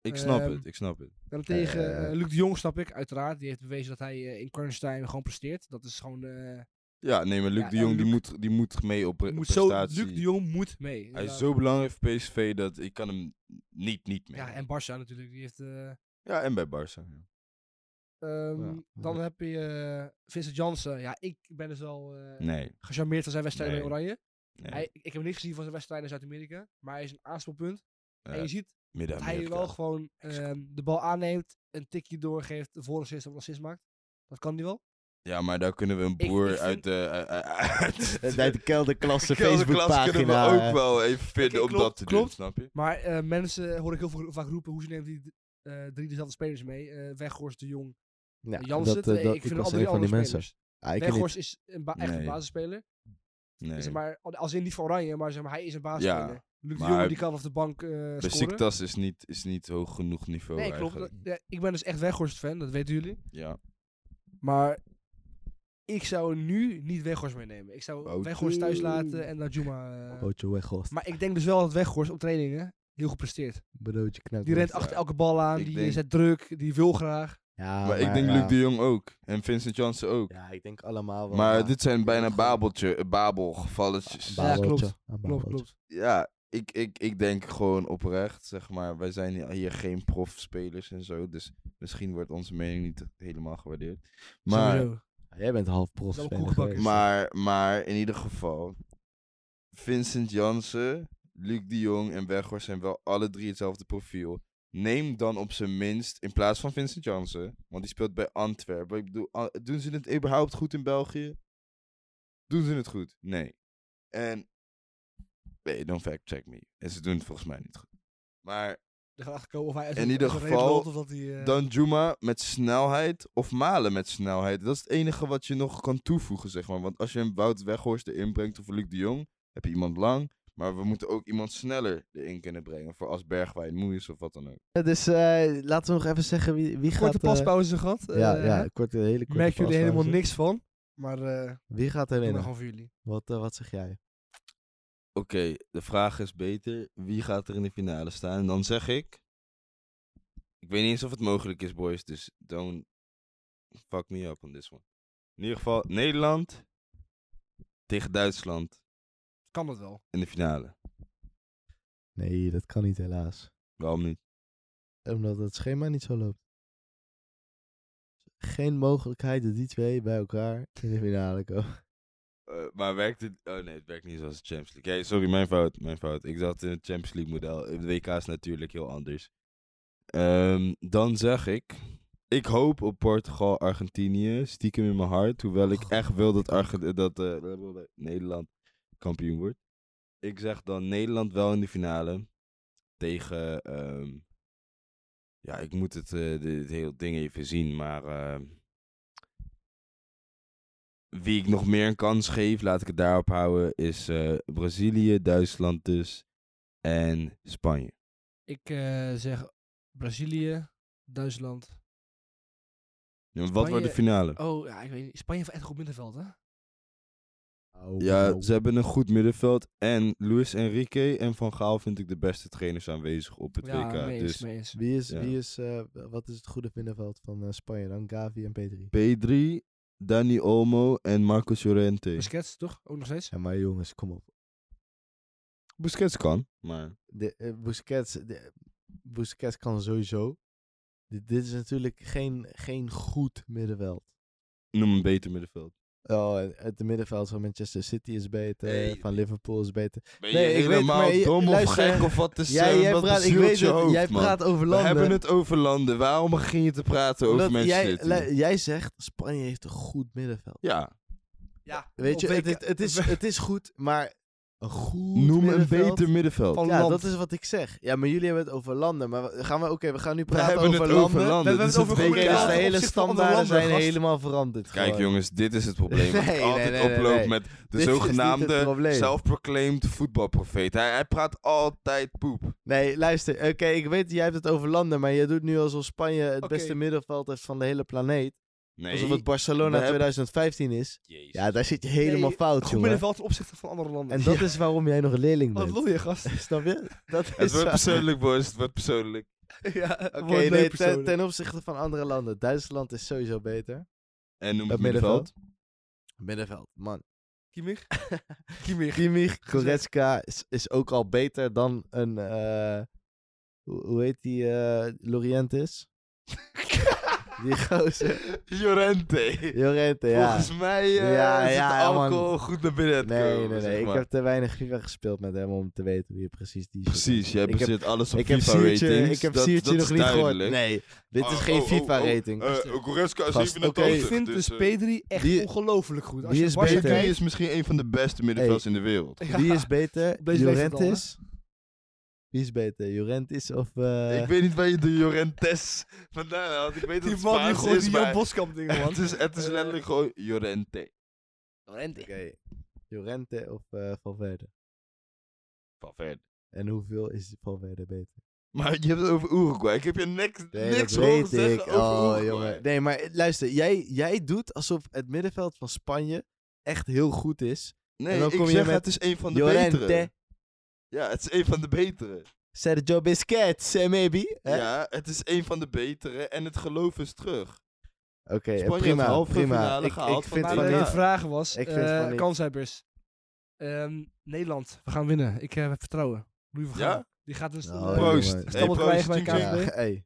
C: Ik snap
B: Ehm,
C: het, ik snap het.
B: Daarentegen,
A: Eh.
B: eh, Luc de Jong snap ik, uiteraard. Die heeft bewezen dat hij eh, in quarantine gewoon presteert. Dat is gewoon... eh,
C: Ja, nee, maar Luc
B: Ja,
C: de
B: en
C: Jong
B: Luc-
C: die moet, die moet mee op pre-
B: moet zo, Luc
C: prestatie.
B: de Jong moet mee.
C: Hij is
B: inderdaad.
C: zo belangrijk voor PSV dat ik kan hem niet niet meer.
B: Ja, en Barca natuurlijk. Die heeft... eh,
C: ja, en bij Barca. ja.
B: ehm,
A: Ja.
B: Dan heb je eh, Vincent Jansen. Ja, ik ben dus al eh,
C: Nee,
B: gecharmeerd van zijn wedstrijden
C: Nee.
B: bij Oranje.
C: nee.
B: Hij, ik heb hem niet gezien van zijn wedstrijden in Zuid-Amerika. Maar hij is een aanspoelpunt. En
C: Ja,
B: je ziet dat hij
C: Midden-Amerika.
B: wel gewoon ehm, de bal aanneemt, een tikje doorgeeft, een voorassist of een assist maakt. Dat kan hij wel.
C: Ja, maar daar kunnen we een
B: Ik-
C: boer
B: ik vind-
C: uit de... eh, eh, Uit
A: Het uit de kelderklasse
C: kelderklas kunnen we
A: Facebookpagina.
C: ook
A: eh.
C: wel even vinden
B: Oké,
C: om dat
B: klopt,
C: te doen,
B: klopt.
C: snap je?
B: Maar eh, mensen hoor ik heel veel, vaak roepen hoe ze neemt die eh, drie dezelfde spelers mee. Eh Weghorst, De Jong,
A: Ja,
B: Jansen.
A: dat, eh,
B: Nee,
A: dat-
B: ik vind
A: was
B: al
A: een
B: drie
A: van
B: andere
A: die
B: spelers.
A: mensen. Ah, ik ken niet.
B: Weghorst is een ba- echt een
C: Nee.
B: basisspeler.
C: Nee.
B: Zeg maar, als in niet van Oranje, maar, zeg maar hij is een basisspeler. Luc de
C: maar-
B: Jong die kan op de bank eh,
C: Bij
B: scoren.
C: Siktas is niet, is niet hoog genoeg niveau
B: Nee, klopt.
C: eigenlijk.
B: Dat- ja, ik ben dus echt Weghorst fan, dat weten jullie.
C: Ja.
B: Maar ik zou nu niet Weghorst meenemen. Ik zou
C: Oh,
B: Weghorst thuis
C: dude.
B: laten en naar Juma. eh.
A: Broodje weggoost.
B: maar ik denk dus wel dat Weghorst op trainingen heel goed presteert.
A: Broodje knakt.
B: Die rent
C: Ja.
B: achter elke bal aan,
C: Ik
B: die
C: denk-
B: zet druk, die wil graag.
A: Ja,
C: maar ik denk
A: ja.
C: Luc de Jong ook. En Vincent Janssen ook.
A: Ja, ik denk allemaal wel.
C: maar
A: ja.
C: dit zijn bijna
A: Ja,
C: babeltje, eh, babelgevalletjes.
B: Ba- Ja, klopt.
A: Babeltje. Een
B: Klopt,
A: babeltje.
B: klopt.
C: Ja, ik, ik, ik denk gewoon oprecht, zeg maar. Wij zijn hier geen profspelers en zo. Dus misschien wordt onze mening niet helemaal gewaardeerd. Maar...
B: Sowieso.
A: Jij bent half prof.
B: Wel
A: Sven,
B: koekbakker.
A: geweest.
C: Maar, maar in ieder geval, Vincent Jansen, Luc de Jong en Weghorst zijn wel alle drie hetzelfde profiel. Neem dan op zijn minst, in plaats van Vincent Jansen, want die speelt bij Antwerpen. Ik bedoel, a- doen ze het überhaupt goed in België? Doen ze het goed? Nee. En, nee, don't fact check me. En ze doen het volgens mij niet goed. Maar
B: Er gaat achterkomen of hij uit
C: In
B: een-
C: ieder
B: uit een
C: geval,
B: reet loopt of dat hij... eh,
C: dan Juma met snelheid of Malen met snelheid. Dat is het enige wat je nog kan toevoegen, zeg maar. Want als je een Wout Weghorst erin brengt of een Luc de Jong, heb je iemand lang. Maar we moeten ook iemand sneller erin kunnen brengen. Voor als Bergwijn moe is of wat dan ook.
A: Dus eh, laten we nog even zeggen wie, wie gaat...
B: Korte
A: eh,
B: paspauze gehad.
A: ja,
B: eh,
A: ja, korte, hele korte
B: Merken jullie
A: paspauze.
B: helemaal niks van. Maar eh
A: Wie gaat
B: doen
A: er
B: we
A: winnen?
B: gewoon voor jullie.
A: Wat, eh, wat zeg jij?
C: Oké, de vraag is beter. Wie gaat er in de finale staan? En dan zeg ik... Ik weet niet eens of het mogelijk is, boys. Dus don't fuck me up on this one. In ieder geval, Nederland tegen Duitsland
B: Kan dat wel.
C: in de finale.
A: Nee, dat kan niet helaas.
C: Waarom niet?
A: Omdat het schema niet zo loopt. Geen mogelijkheid dat die twee bij elkaar in de finale komen.
C: Eh, maar werkt het? Oh nee, het werkt niet zoals de Champions League. Hey, sorry, mijn fout, mijn fout. Ik zat in het Champions League model. De WK is natuurlijk heel anders. Ehm, dan zeg ik, ik hoop op Portugal, Argentinië, stiekem in mijn hart. Hoewel ik echt wil dat, Arge- dat eh, blablabla, Nederland kampioen wordt. Ik zeg dan Nederland wel in de finale tegen. ehm, ja, ik moet het, eh, de- het hele ding even zien, maar. ehm, wie ik nog meer een kans geef, laat ik het daarop houden, is eh, Brazilië, Duitsland dus en Spanje.
B: Ik eh, zeg Brazilië, Duitsland.
C: Ja, maar Wat wordt de
B: Spanje-
C: finale?
B: Oh, ja, ik weet niet. Spanje heeft echt een goed middenveld, hè?
C: Oh,
A: oh,
C: Ja, ze hebben een goed middenveld en Luis Enrique en Van Gaal vind ik de beste trainers aanwezig op het
B: ja,
C: WK.
B: mee eens,
C: Dus
B: mee eens.
A: Wie is,
C: Ja.
A: wie is eh, wat is het goede middenveld van eh, Spanje dan? Gavi en Pedri.
C: P3, Dani Olmo en Marcos Llorente.
B: Busquets, toch? Ook nog steeds?
A: Ja, maar jongens, kom op.
C: Busquets kan, maar
A: De, eh, Busquets, de, Busquets kan sowieso. Dit, dit is natuurlijk geen, geen goed middenveld.
C: noem een beter middenveld.
A: Oh, het- het middenveld van Manchester City is beter,
C: Nee.
A: van Liverpool is beter.
C: Ben
A: Nee, ik weet- maar je- luister,
C: of wat is
A: jij
C: eh,
A: jij
C: wat
A: praat, ik
C: bezielt
A: weet
C: je
A: het,
C: hoofd,
A: jij
C: man?
A: praat over
C: We
A: landen.
C: hebben het over landen. Waarom begin je te praten over
A: Omdat
C: mensen?
A: jij, lu- jij zegt, Spanje heeft een goed middenveld.
C: Ja,
B: Ja.
A: Weet je,
B: Op
A: het,
B: WK
A: het, het is, het is goed, maar een goed
C: noem een
A: middenveld-
C: beter middenveld.
B: Van
A: Ja,
B: land.
A: dat is wat ik zeg. Ja, maar jullie hebben het over landen. Maar we- gaan we, oké, we gaan nu praten
C: hebben het
A: over
C: over
A: landen.
C: landen.
A: We hebben het
C: Dit is
A: over
C: het
A: goede
C: WK.
A: landen. De
B: Ten
A: hele
B: opzichte van andere
A: standaarden
B: landen,
A: zijn
B: gast.
A: helemaal veranderd.
C: Kijk
A: gewoon.
C: jongens, dit is het probleem. Wat
A: Nee,
C: ik altijd
A: nee, nee, nee,
C: oploop
A: nee.
C: met de
A: is niet het
C: zogenaamde
A: probleem.
C: zelfproclaimed voetbalprofeet. Hij, hij praat altijd poep.
A: Nee, luister. Oké, ik weet, jij hebt het over landen. Maar je doet nu alsof Spanje het
B: Oké.
A: beste middenveld heeft van de hele planeet.
C: Nee.
A: Alsof het Barcelona
C: we hebben-
A: 2015 is.
C: Jezus.
A: Ja, daar zit je helemaal
B: Nee,
A: fout,
B: Goed
A: jongen.
B: middenveld ten opzichte van andere landen.
A: En dat
B: Ja.
A: is waarom jij nog leerling
B: Wat
A: bent.
B: lol je, gast.
A: Snap je? Dat
C: het
A: is
C: wordt
A: waar.
C: persoonlijk boys, het wordt persoonlijk.
B: ja,
A: Oké,
B: wordt leuk
A: nee, ten-
B: persoonlijk.
A: ten opzichte van andere landen. Duitsland is sowieso beter.
C: En noem
A: Dat
C: het middenveld.
A: Middenveld, man.
B: Kimmich? Kimmich.
A: Kimmich, Goretzka is, is ook al beter dan een... eh, hoe, hoe heet die? eh, Lorientis? Die gozer.
C: Jorente.
A: Jorente, ja.
C: Volgens mij eh
A: Ja,
C: zit
A: ja,
C: de
A: ja, man.
C: alcohol goed naar binnen te
A: Nee,
C: komen,
A: nee,
C: zeg
A: nee. Ik
C: maar.
A: heb te weinig FIFA gespeeld met hem om te weten wie je precies die... shit
C: Precies, jij
A: Ik heb-
C: baseert alles op
A: Ik heb
C: FIFA ratings.
A: Siertje, ik heb
C: dat,
A: Siertje
C: dat
A: nog
C: is
A: niet gehoord.
C: duidelijk.
A: Nee, dit
C: Oh,
A: is geen
C: oh, oh,
A: FIFA-rating.
C: Oh, eh, Goretzka is
A: Gast,
C: 87.
A: oké.
B: Ik vind
C: dus,
B: dus
C: eh,
B: Pedri echt
A: die-
B: ongelooflijk goed. Als
A: die
B: je
A: is
B: Barca
A: beter.
C: Pedri
B: kijkt-
C: is misschien een van de beste middenvelders in de wereld.
B: Ja.
A: Wie is beter?
B: Op deze leeftijd al, hè?
A: Jorentis? Wie is beter? Jorentis of... eh,
C: Ik weet niet waar je de Jorentes vandaan haalt. Ik weet dat
B: Die
C: het
B: man die
C: Spaans
B: gooit
C: is,
B: die Jan
C: maar
B: Boskamp dingen, man.
C: het is, het is letterlijk gewoon Jorente.
A: Oké. Jorente of eh, Valverde?
C: Van ver.
A: En hoeveel is Valverde beter?
C: Maar je hebt het over Uruguay. Ik heb je niks,
A: Nee,
C: niks
A: dat
C: horen
A: weet
C: zeggen
A: ik.
C: over
A: Oh,
C: Uruguay.
A: jongen. Nee, maar luister. Jij, jij doet alsof het middenveld van Spanje echt heel goed is. En
C: Nee,
A: dan
C: ik
A: kom je
C: zeg
A: met
C: het is een van de
A: Llorente,
C: betere. Ja, het is een van de betere.
A: Sergio Busquets, eh, maybe. hè?
C: Ja, het is een van de betere en het geloof is terug.
A: Oké, eh,
C: Spanje heeft de
A: prima,
C: halve
A: prima.
C: finale
A: Ik,
C: gehaald
A: ik
C: van
A: vind
B: Maar
A: van
C: Nederland.
B: de
C: niet.
A: niet.
B: vraag was,
A: Ik
B: ik
A: vind van niet.
B: kanshebbers. Ehm, Nederland, we gaan winnen. Ik eh, heb vertrouwen. Louis van
C: Ja?
B: Gaal, Die gaat dus een
A: Oh,
B: stammel
C: proost.
A: jongen.
C: Hey, proost.
B: krijgen bij
C: Jinxie.
B: KNVB.
A: Ja, hey.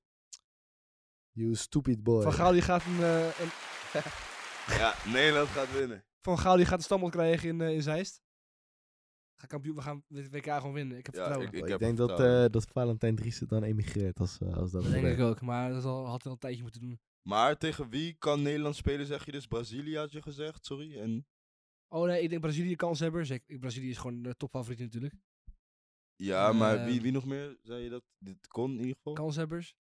A: You stupid boy.
B: Van Gaal die gaat een, eh, een,
C: Ja, Nederland gaat winnen.
B: van Gaal die gaat een stammel krijgen in, eh, in Zeist. Ga kampioen, we gaan dit WK gewoon winnen. Ik heb
C: Ja,
B: vertrouwen.
C: ik, ik,
A: ik
C: heb
A: denk dat,
C: vertrouwen.
A: eh, dat Valentijn Driessen dan emigreert als, eh, als dat
B: dat denk
A: gebeurt.
B: ik ook, maar dat al- had hij al een tijdje moeten doen.
C: Maar tegen wie kan Nederland spelen, zeg je dus? Brazilië had je gezegd, sorry. En
B: Oh nee, ik denk Brazilië kanshebber. Zeker- ik- Brazilië is gewoon de topfavoriet natuurlijk.
C: ja, maar
B: Eh,
C: wie, wie nog meer? Zei je dat? Dit kon in ieder geval.
B: Kanshebbers.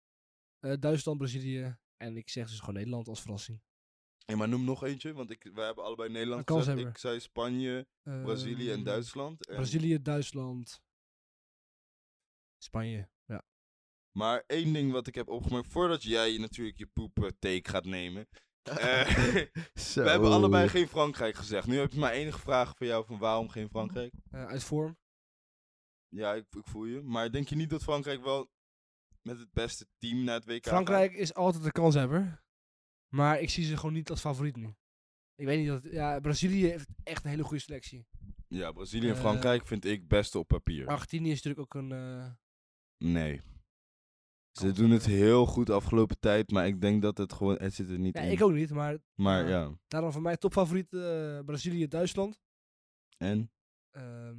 B: Eh Duitsland, Brazilië. En ik zeg dus gewoon Nederland als verrassing.
C: Ja, maar noem nog eentje, want ik, wij hebben allebei Nederland
B: Een kans
C: gezegd.
B: hebben.
C: Ik zei Spanje, Brazilië en
B: Ehm,
C: Duitsland. En-
B: Brazilië, Duitsland. Spanje. Ja.
C: Maar één ding wat ik heb opgemerkt, voordat jij natuurlijk je poep eh, take gaat nemen. eh,
A: Zo.
C: We hebben allebei geen Frankrijk gezegd. Nu heb je mijn enige vraag voor jou van waarom geen Frankrijk?
B: Eh, uit vorm.
C: Ja, ik, ik voel je. Maar denk je niet dat Frankrijk wel met het beste team naar het WK gaat?
B: Frankrijk is altijd de kanshebber. Maar ik zie ze gewoon niet als favoriet nu. Ik weet niet dat. Ja, Brazilië heeft echt een hele goede selectie.
C: Ja, Brazilië en
B: Eh, Ah.
C: Frankrijk vind ik best op papier.
B: Argentinië is natuurlijk ook een. eh,
C: Nee. Ze
B: Kans
C: doen het
B: hebben.
C: heel goed afgelopen tijd, maar ik denk dat het gewoon... Het zit er niet
B: ja,
C: in.
B: ik ook niet, maar
C: Maar
B: Ja.
C: ja,
B: daarom voor mij topfavoriet eh, Brazilië, Duitsland.
C: en?
B: Ehm,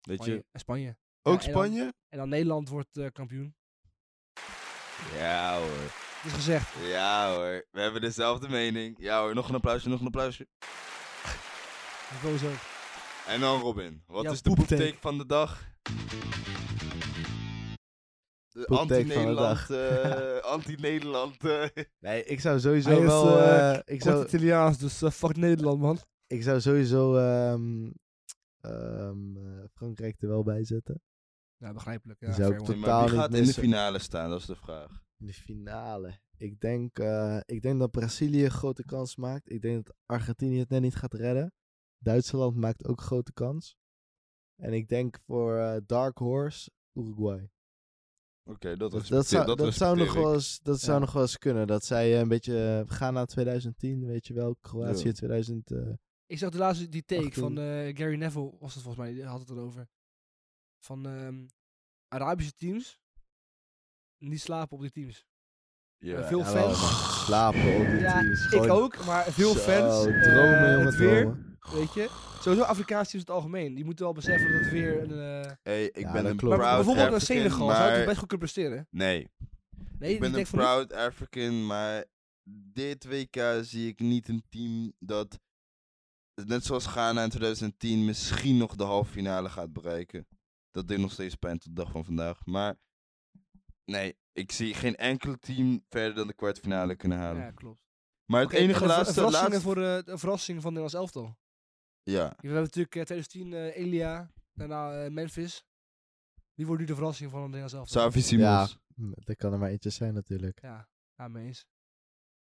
C: Weet
B: Spanje,
C: je,
B: en Spanje.
C: ook
B: en dan-
C: Spanje?
B: En dan Nederland wordt eh, kampioen.
C: Ja hoor,
B: Het is gezegd.
C: ja hoor. We hebben dezelfde mening. Ja hoor, nog een applausje, nog een applausje.
B: Boos ook.
C: En dan Robin, wat
B: Ja,
C: is de
B: poeptake.
C: poeptake van de dag? De
A: Poeptake van de
C: anti-Nederland,
A: dag.
C: eh, anti-Nederland. eh.
A: Nee, ik zou sowieso
B: Hij is,
A: wel...
B: eh,
A: eh, ik, zou,
B: Italiaans, dus fuck Nederland, man.
A: ik zou sowieso ehm, ehm, eh, Frankrijk er wel bij zetten.
B: Ja, begrijpelijk. Ja,
A: Die zou
B: fair
A: ik
B: one.
A: tot-
C: maar
A: Totaal
C: wie gaat
A: niet
C: in de
A: missen.
C: finale staan, dat is de vraag.
A: In de finale. Ik denk, eh, ik denk dat Brazilië een grote kans maakt. Ik denk dat Argentinië het net niet gaat redden. Duitsland maakt ook grote kans. En ik denk voor eh, Dark Horse Uruguay.
C: Oké, dat,
A: Dat,
C: respecteer-
A: dat, zou, dat, zou, nog
C: respecteer
A: wel
C: ik.
A: eens, dat zou
B: Ja.
A: nog wel eens kunnen. Dat zij eh, een beetje eh, gaan naar 2010, weet je wel. Kroatië
C: Ja.
A: 2000. eh,
B: Ik zag de laatste die take
A: 18.
B: van eh, Gary Neville, was het volgens mij, die had het erover. Van ehm, Arabische teams, niet slapen op die teams.
C: Ja,
B: Eh, veel
A: ja, wel,
B: fans.
A: slapen op dit
B: Ja,
A: teams.
B: ik
A: Gewoon
B: ook, maar veel
A: zo,
B: fans. eh,
A: Dromen, jongen,
B: het weer,
A: dromen.
B: weet je. Sowieso Afrikaanse teams in het algemeen. Die moeten wel beseffen dat het weer een... eh,
C: Hey, ik
A: Ja,
C: ben
A: dat
C: een
A: klopt.
C: proud
B: maar bijvoorbeeld
C: African,
B: naar Senegal, zou het
C: maar...
B: best goed kunnen presteren.
C: Nee,
B: Nee,
C: ik ben
B: denk
C: een
B: van niet.
C: proud African, maar dit WK zie ik niet een team dat, net zoals Ghana in 2010, misschien nog de halve finale gaat bereiken. Dat deed nog steeds pijn tot de dag van vandaag. Maar nee, ik zie geen enkel team verder dan de kwartfinale kunnen halen.
B: Ja, klopt.
C: Maar het
B: Oké, en
C: enige
B: de ver-
C: laatste...
B: verrassingen
C: laatste...
B: voor eh, de verrassingen van Nederlands elftal.
C: Ja,
B: We hebben natuurlijk eh, 2010 eh, Elia, daarna eh, Memphis. Die wordt nu de verrassing van het Nederlands elftal.
C: Savi Simons.
A: Hm, Dat kan er maar eentje zijn natuurlijk.
B: Ja, ja, mee eens.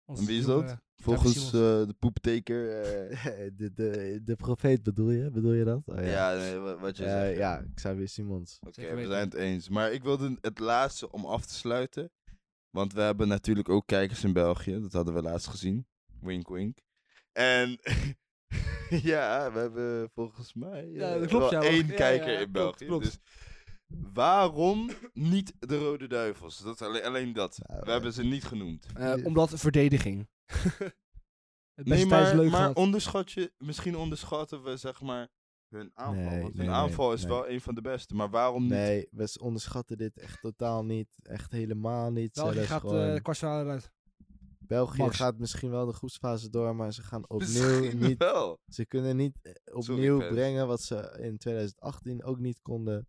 B: Ons
C: En wie is
B: jonge-
C: dat? Volgens
B: Simons.
C: eh, de poeptaker. eh,
A: de, de, de profeet bedoel je? Bedoel je dat? Oh,
C: ja, nee, wa- wat je
A: Eh,
C: zegt.
A: ja, Xavier Simons.
C: Oké,
B: Zeker
C: we
B: weten.
C: zijn het eens. Maar ik wilde het laatste om af te sluiten. Want we hebben natuurlijk ook kijkers in België. Dat hadden we laatst gezien. Wink, wink. En ja, we hebben volgens mij eh,
B: Ja, dat klopt,
C: wel
B: ja,
C: één
B: wacht. Ja,
C: kijker
B: ja, klopt,
C: in België.
B: klopt.
C: Dus waarom niet de Rode Duivels? Dat, alleen, alleen dat.
A: Nou,
C: we hebben ze niet genoemd.
B: Eh, omdat verdediging. het
C: Nee,
B: beste
C: maar,
B: is leuk
C: maar
B: gehad.
C: onderschat je, misschien onderschatten we zeg maar hun aanval.
A: Nee,
C: want hun
A: nee, nee,
C: aanval is
A: nee.
C: wel een van de beste. Maar waarom niet?
A: Nee, we s- onderschatten dit echt totaal niet. Echt helemaal niet.
B: België
A: zelfs
B: gaat eh,
A: gewoon.
B: de kwartfinale eruit.
A: België
B: Max.
A: gaat misschien wel de groepsfase door, maar ze gaan opnieuw
C: Misschien
A: niet.
C: wel.
A: Ze kunnen niet eh, opnieuw
C: Fes.
A: brengen wat ze in 2018 ook niet konden.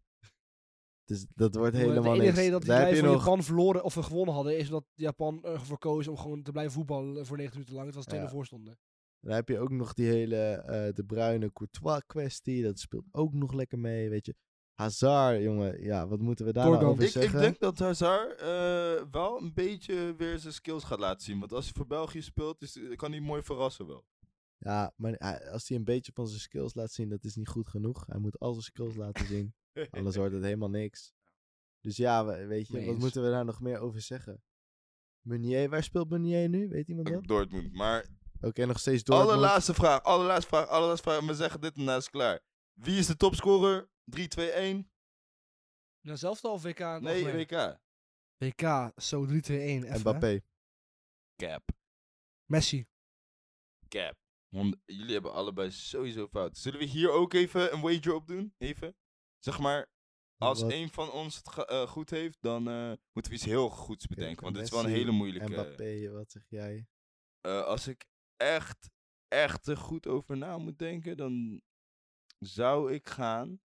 A: Dus dat wordt
B: de
A: helemaal
B: enige
A: niks.
B: reden dat die
A: Daar heb
B: wij
A: je
B: van
A: nog
B: Japan verloren of gewonnen hadden, is dat Japan eh, ervoor koos om gewoon te blijven voetballen eh, voor 90 minuten lang. Het was het
A: Ja.
B: hele voorstonden.
A: Dan heb je ook nog die hele eh, de bruine Courtois kwestie. Dat speelt ook nog lekker mee, weet je. Hazard, jongen. Ja, wat moeten we daar
B: Torgan.
A: nou over
C: Ik, ik
A: zeggen?
C: denk dat Hazard eh, wel een beetje weer zijn skills gaat laten zien. Want als hij voor België speelt, is, kan hij mooi verrassen wel.
A: Ja, maar hij- als hij een beetje van zijn skills laat zien, dat is niet goed genoeg. Hij moet al zijn skills laten zien, anders wordt het helemaal niks. Dus ja, we- weet je,
B: Mee
A: wat
B: eens.
A: moeten we daar nog meer over zeggen? Meunier, waar speelt Meunier nu? Weet iemand dat?
C: Dortmund. Maar
A: Oké, nog steeds Dortmund.
C: allerlaatste vraag, allerlaatste vraag, allerlaatste vraag. En we zeggen dit en dan is het klaar. Wie is de topscorer? 3, 2, 1?
B: Nou, zelfs al WK. in het
C: Nee,
B: algemeen.
C: WK.
B: WK, zo 3-2-1. even, hè.
A: Mbappé.
C: Cap.
B: Messi.
C: Cap. Hond- Jullie hebben allebei sowieso fout. Zullen we hier ook even een wager op doen? Even? Zeg maar, als
A: Nou, Wat?
C: een van ons het ge- eh, goed heeft, dan eh, moeten we iets heel goeds bedenken. Want dit is wel een
A: Messi,
C: hele moeilijke.
A: Mbappé, wat zeg jij?
C: Eh, als ik echt, echt er goed over na moet denken, dan zou ik gaan.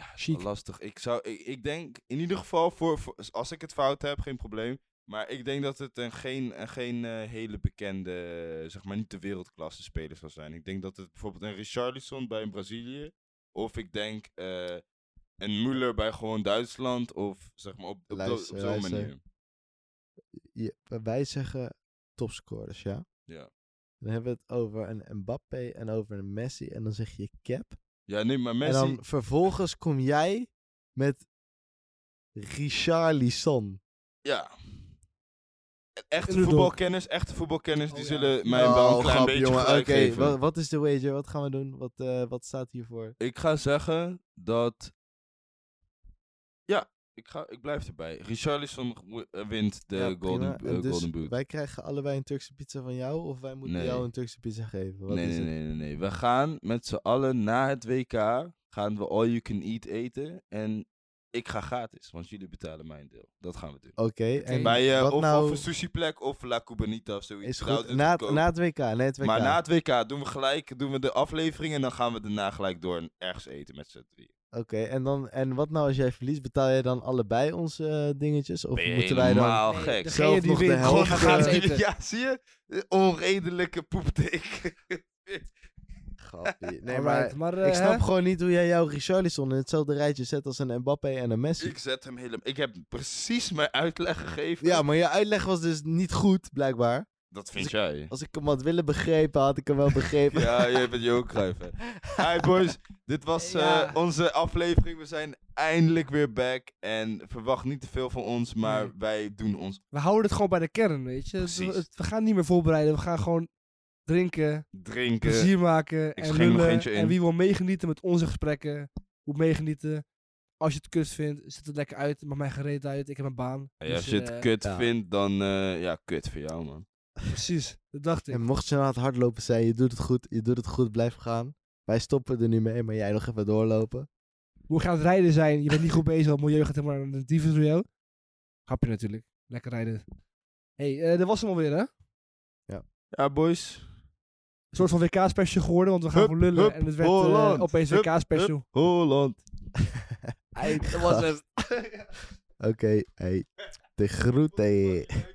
C: Ah, dat is wel
B: Chic.
C: Lastig. Ik, zou, ik, ik denk in ieder geval, voor, voor- als ik het fout heb, geen probleem. Maar ik denk dat het een geen, een geen eh, hele bekende, eh, zeg maar niet de wereldklasse speler zal zijn. Ik denk dat het bijvoorbeeld een Richarlison bij een Brazilië. Of ik denk eh, een Muller bij gewoon Duitsland. Of zeg maar op, op, dat-
A: Luister,
C: op zo'n
A: luister.
C: manier.
A: Je- wij zeggen topscorers, ja?
C: Ja.
A: Dan hebben we het over een Mbappé en over een Messi. En dan zeg je cap.
C: Ja, nee, maar Messi...
A: En dan vervolgens kom jij met Richarlison.
C: Ja. Echte
B: Underdog.
C: voetbalkenners, echte voetbalkenners,
B: Oh
C: die
B: ja.
C: zullen mij wel een
A: Oh,
C: klein
A: grap,
C: beetje
A: jongen.
C: gelijk geven.
A: wa- wat is de wager? Wat gaan we doen? Wat, eh, wat staat hiervoor?
C: Ik ga zeggen dat... Ja, ik, ga, ik blijf erbij. Richarlison w- eh, wint de
A: Ja,
C: golden,
A: prima.
C: eh,
A: En dus
C: golden Boot.
A: Wij krijgen allebei een Turkse pizza van jou, of wij moeten
C: Nee.
A: jou een Turkse pizza geven? Wat
C: Nee,
A: is
C: nee,
A: het?
C: nee, nee, nee. We gaan met z'n allen na het WK, gaan we all you can eat eten. En ik ga gratis, want jullie betalen mijn deel. Dat gaan we doen.
A: Oké,
B: Oké.
A: en
C: Bij, eh,
A: wat
C: of,
A: nou
C: of een sushiplek of La Cubanita of zoiets.
A: is
C: Nou,
A: goed.
C: dit
A: Na, het-
C: goedkoop.
A: na het WK, na het WK.
C: Maar na het WK doen we gelijk doen we de aflevering en dan gaan we daarna gelijk door en ergens eten met z'n drieën.
A: Oké, en, dan, en wat nou als jij verliest? Betaal jij dan allebei onze eh, dingetjes? Of
C: Ben je
A: moeten wij dan...
C: helemaal
B: Nee,
C: gek.
B: degene
A: zelf
B: die
A: nog de
B: wint,
A: helft,
C: Gewoon,
B: gewoon
C: dan
A: eh,
C: gaan
B: gaat
C: ze-
B: eten.
C: ja, zie je? De Onredelijke poepteek.
A: Grappie. Nee, maar
B: Alright, maar, eh,
A: ik snap
B: hè?
A: gewoon niet hoe jij jouw Richarlison in hetzelfde rijtje zet als een Mbappé en een Messi.
C: ik zet hem helemaal... Ik heb precies mijn uitleg gegeven.
A: Ja, maar je uitleg was dus niet goed, blijkbaar.
C: Dat vind jij.
A: Als ik hem had willen begrepen, had ik hem wel begrepen.
C: Ja, jij bent Joop Cruijff. hè. Hi boys, dit was eh,
B: Ja.
C: onze aflevering. We zijn eindelijk weer back. En verwacht niet te veel van ons, maar
B: Nee.
C: wij doen ons
B: We houden het gewoon bij de kern, weet je. Het-
C: Precies.
B: het- we gaan niet meer voorbereiden. We gaan gewoon drinken,
C: drinken.
B: plezier maken en
C: schenk eh, nog
B: lullen.
C: eentje in.
B: En wie wil meegenieten met onze gesprekken, hoe meegenieten. Als je het kut vindt, zet het lekker uit. Maakt mij gereed uit. Ik heb een baan.
C: Ja, als
B: Dus,
C: je het
B: eh,
C: kut
A: ja.
C: vindt, dan eh, ja, kut voor jou man.
B: Precies, dat dacht ik.
A: En mocht je nou aan het hardlopen zijn, je doet het goed, je doet het goed, blijf gaan. Wij stoppen er nu mee, maar jij nog even doorlopen.
B: Hoe gaan het rijden zijn? Je bent niet goed bezig. Het milieu gaat helemaal naar de dieven door jou. Grapje natuurlijk. Lekker rijden. hey, eh, dat was hem alweer, hè? Een
C: Ja, boys.
B: soort van WK-special geworden, want we gaan
C: Hup,
B: gewoon lullen.
C: hup,
B: en het werd eh,
C: Holland.
B: opeens
C: Hup,
B: WK-special.
C: Holland.
A: Hey, dat was het. Oké, hey, de groeten.
C: Hey.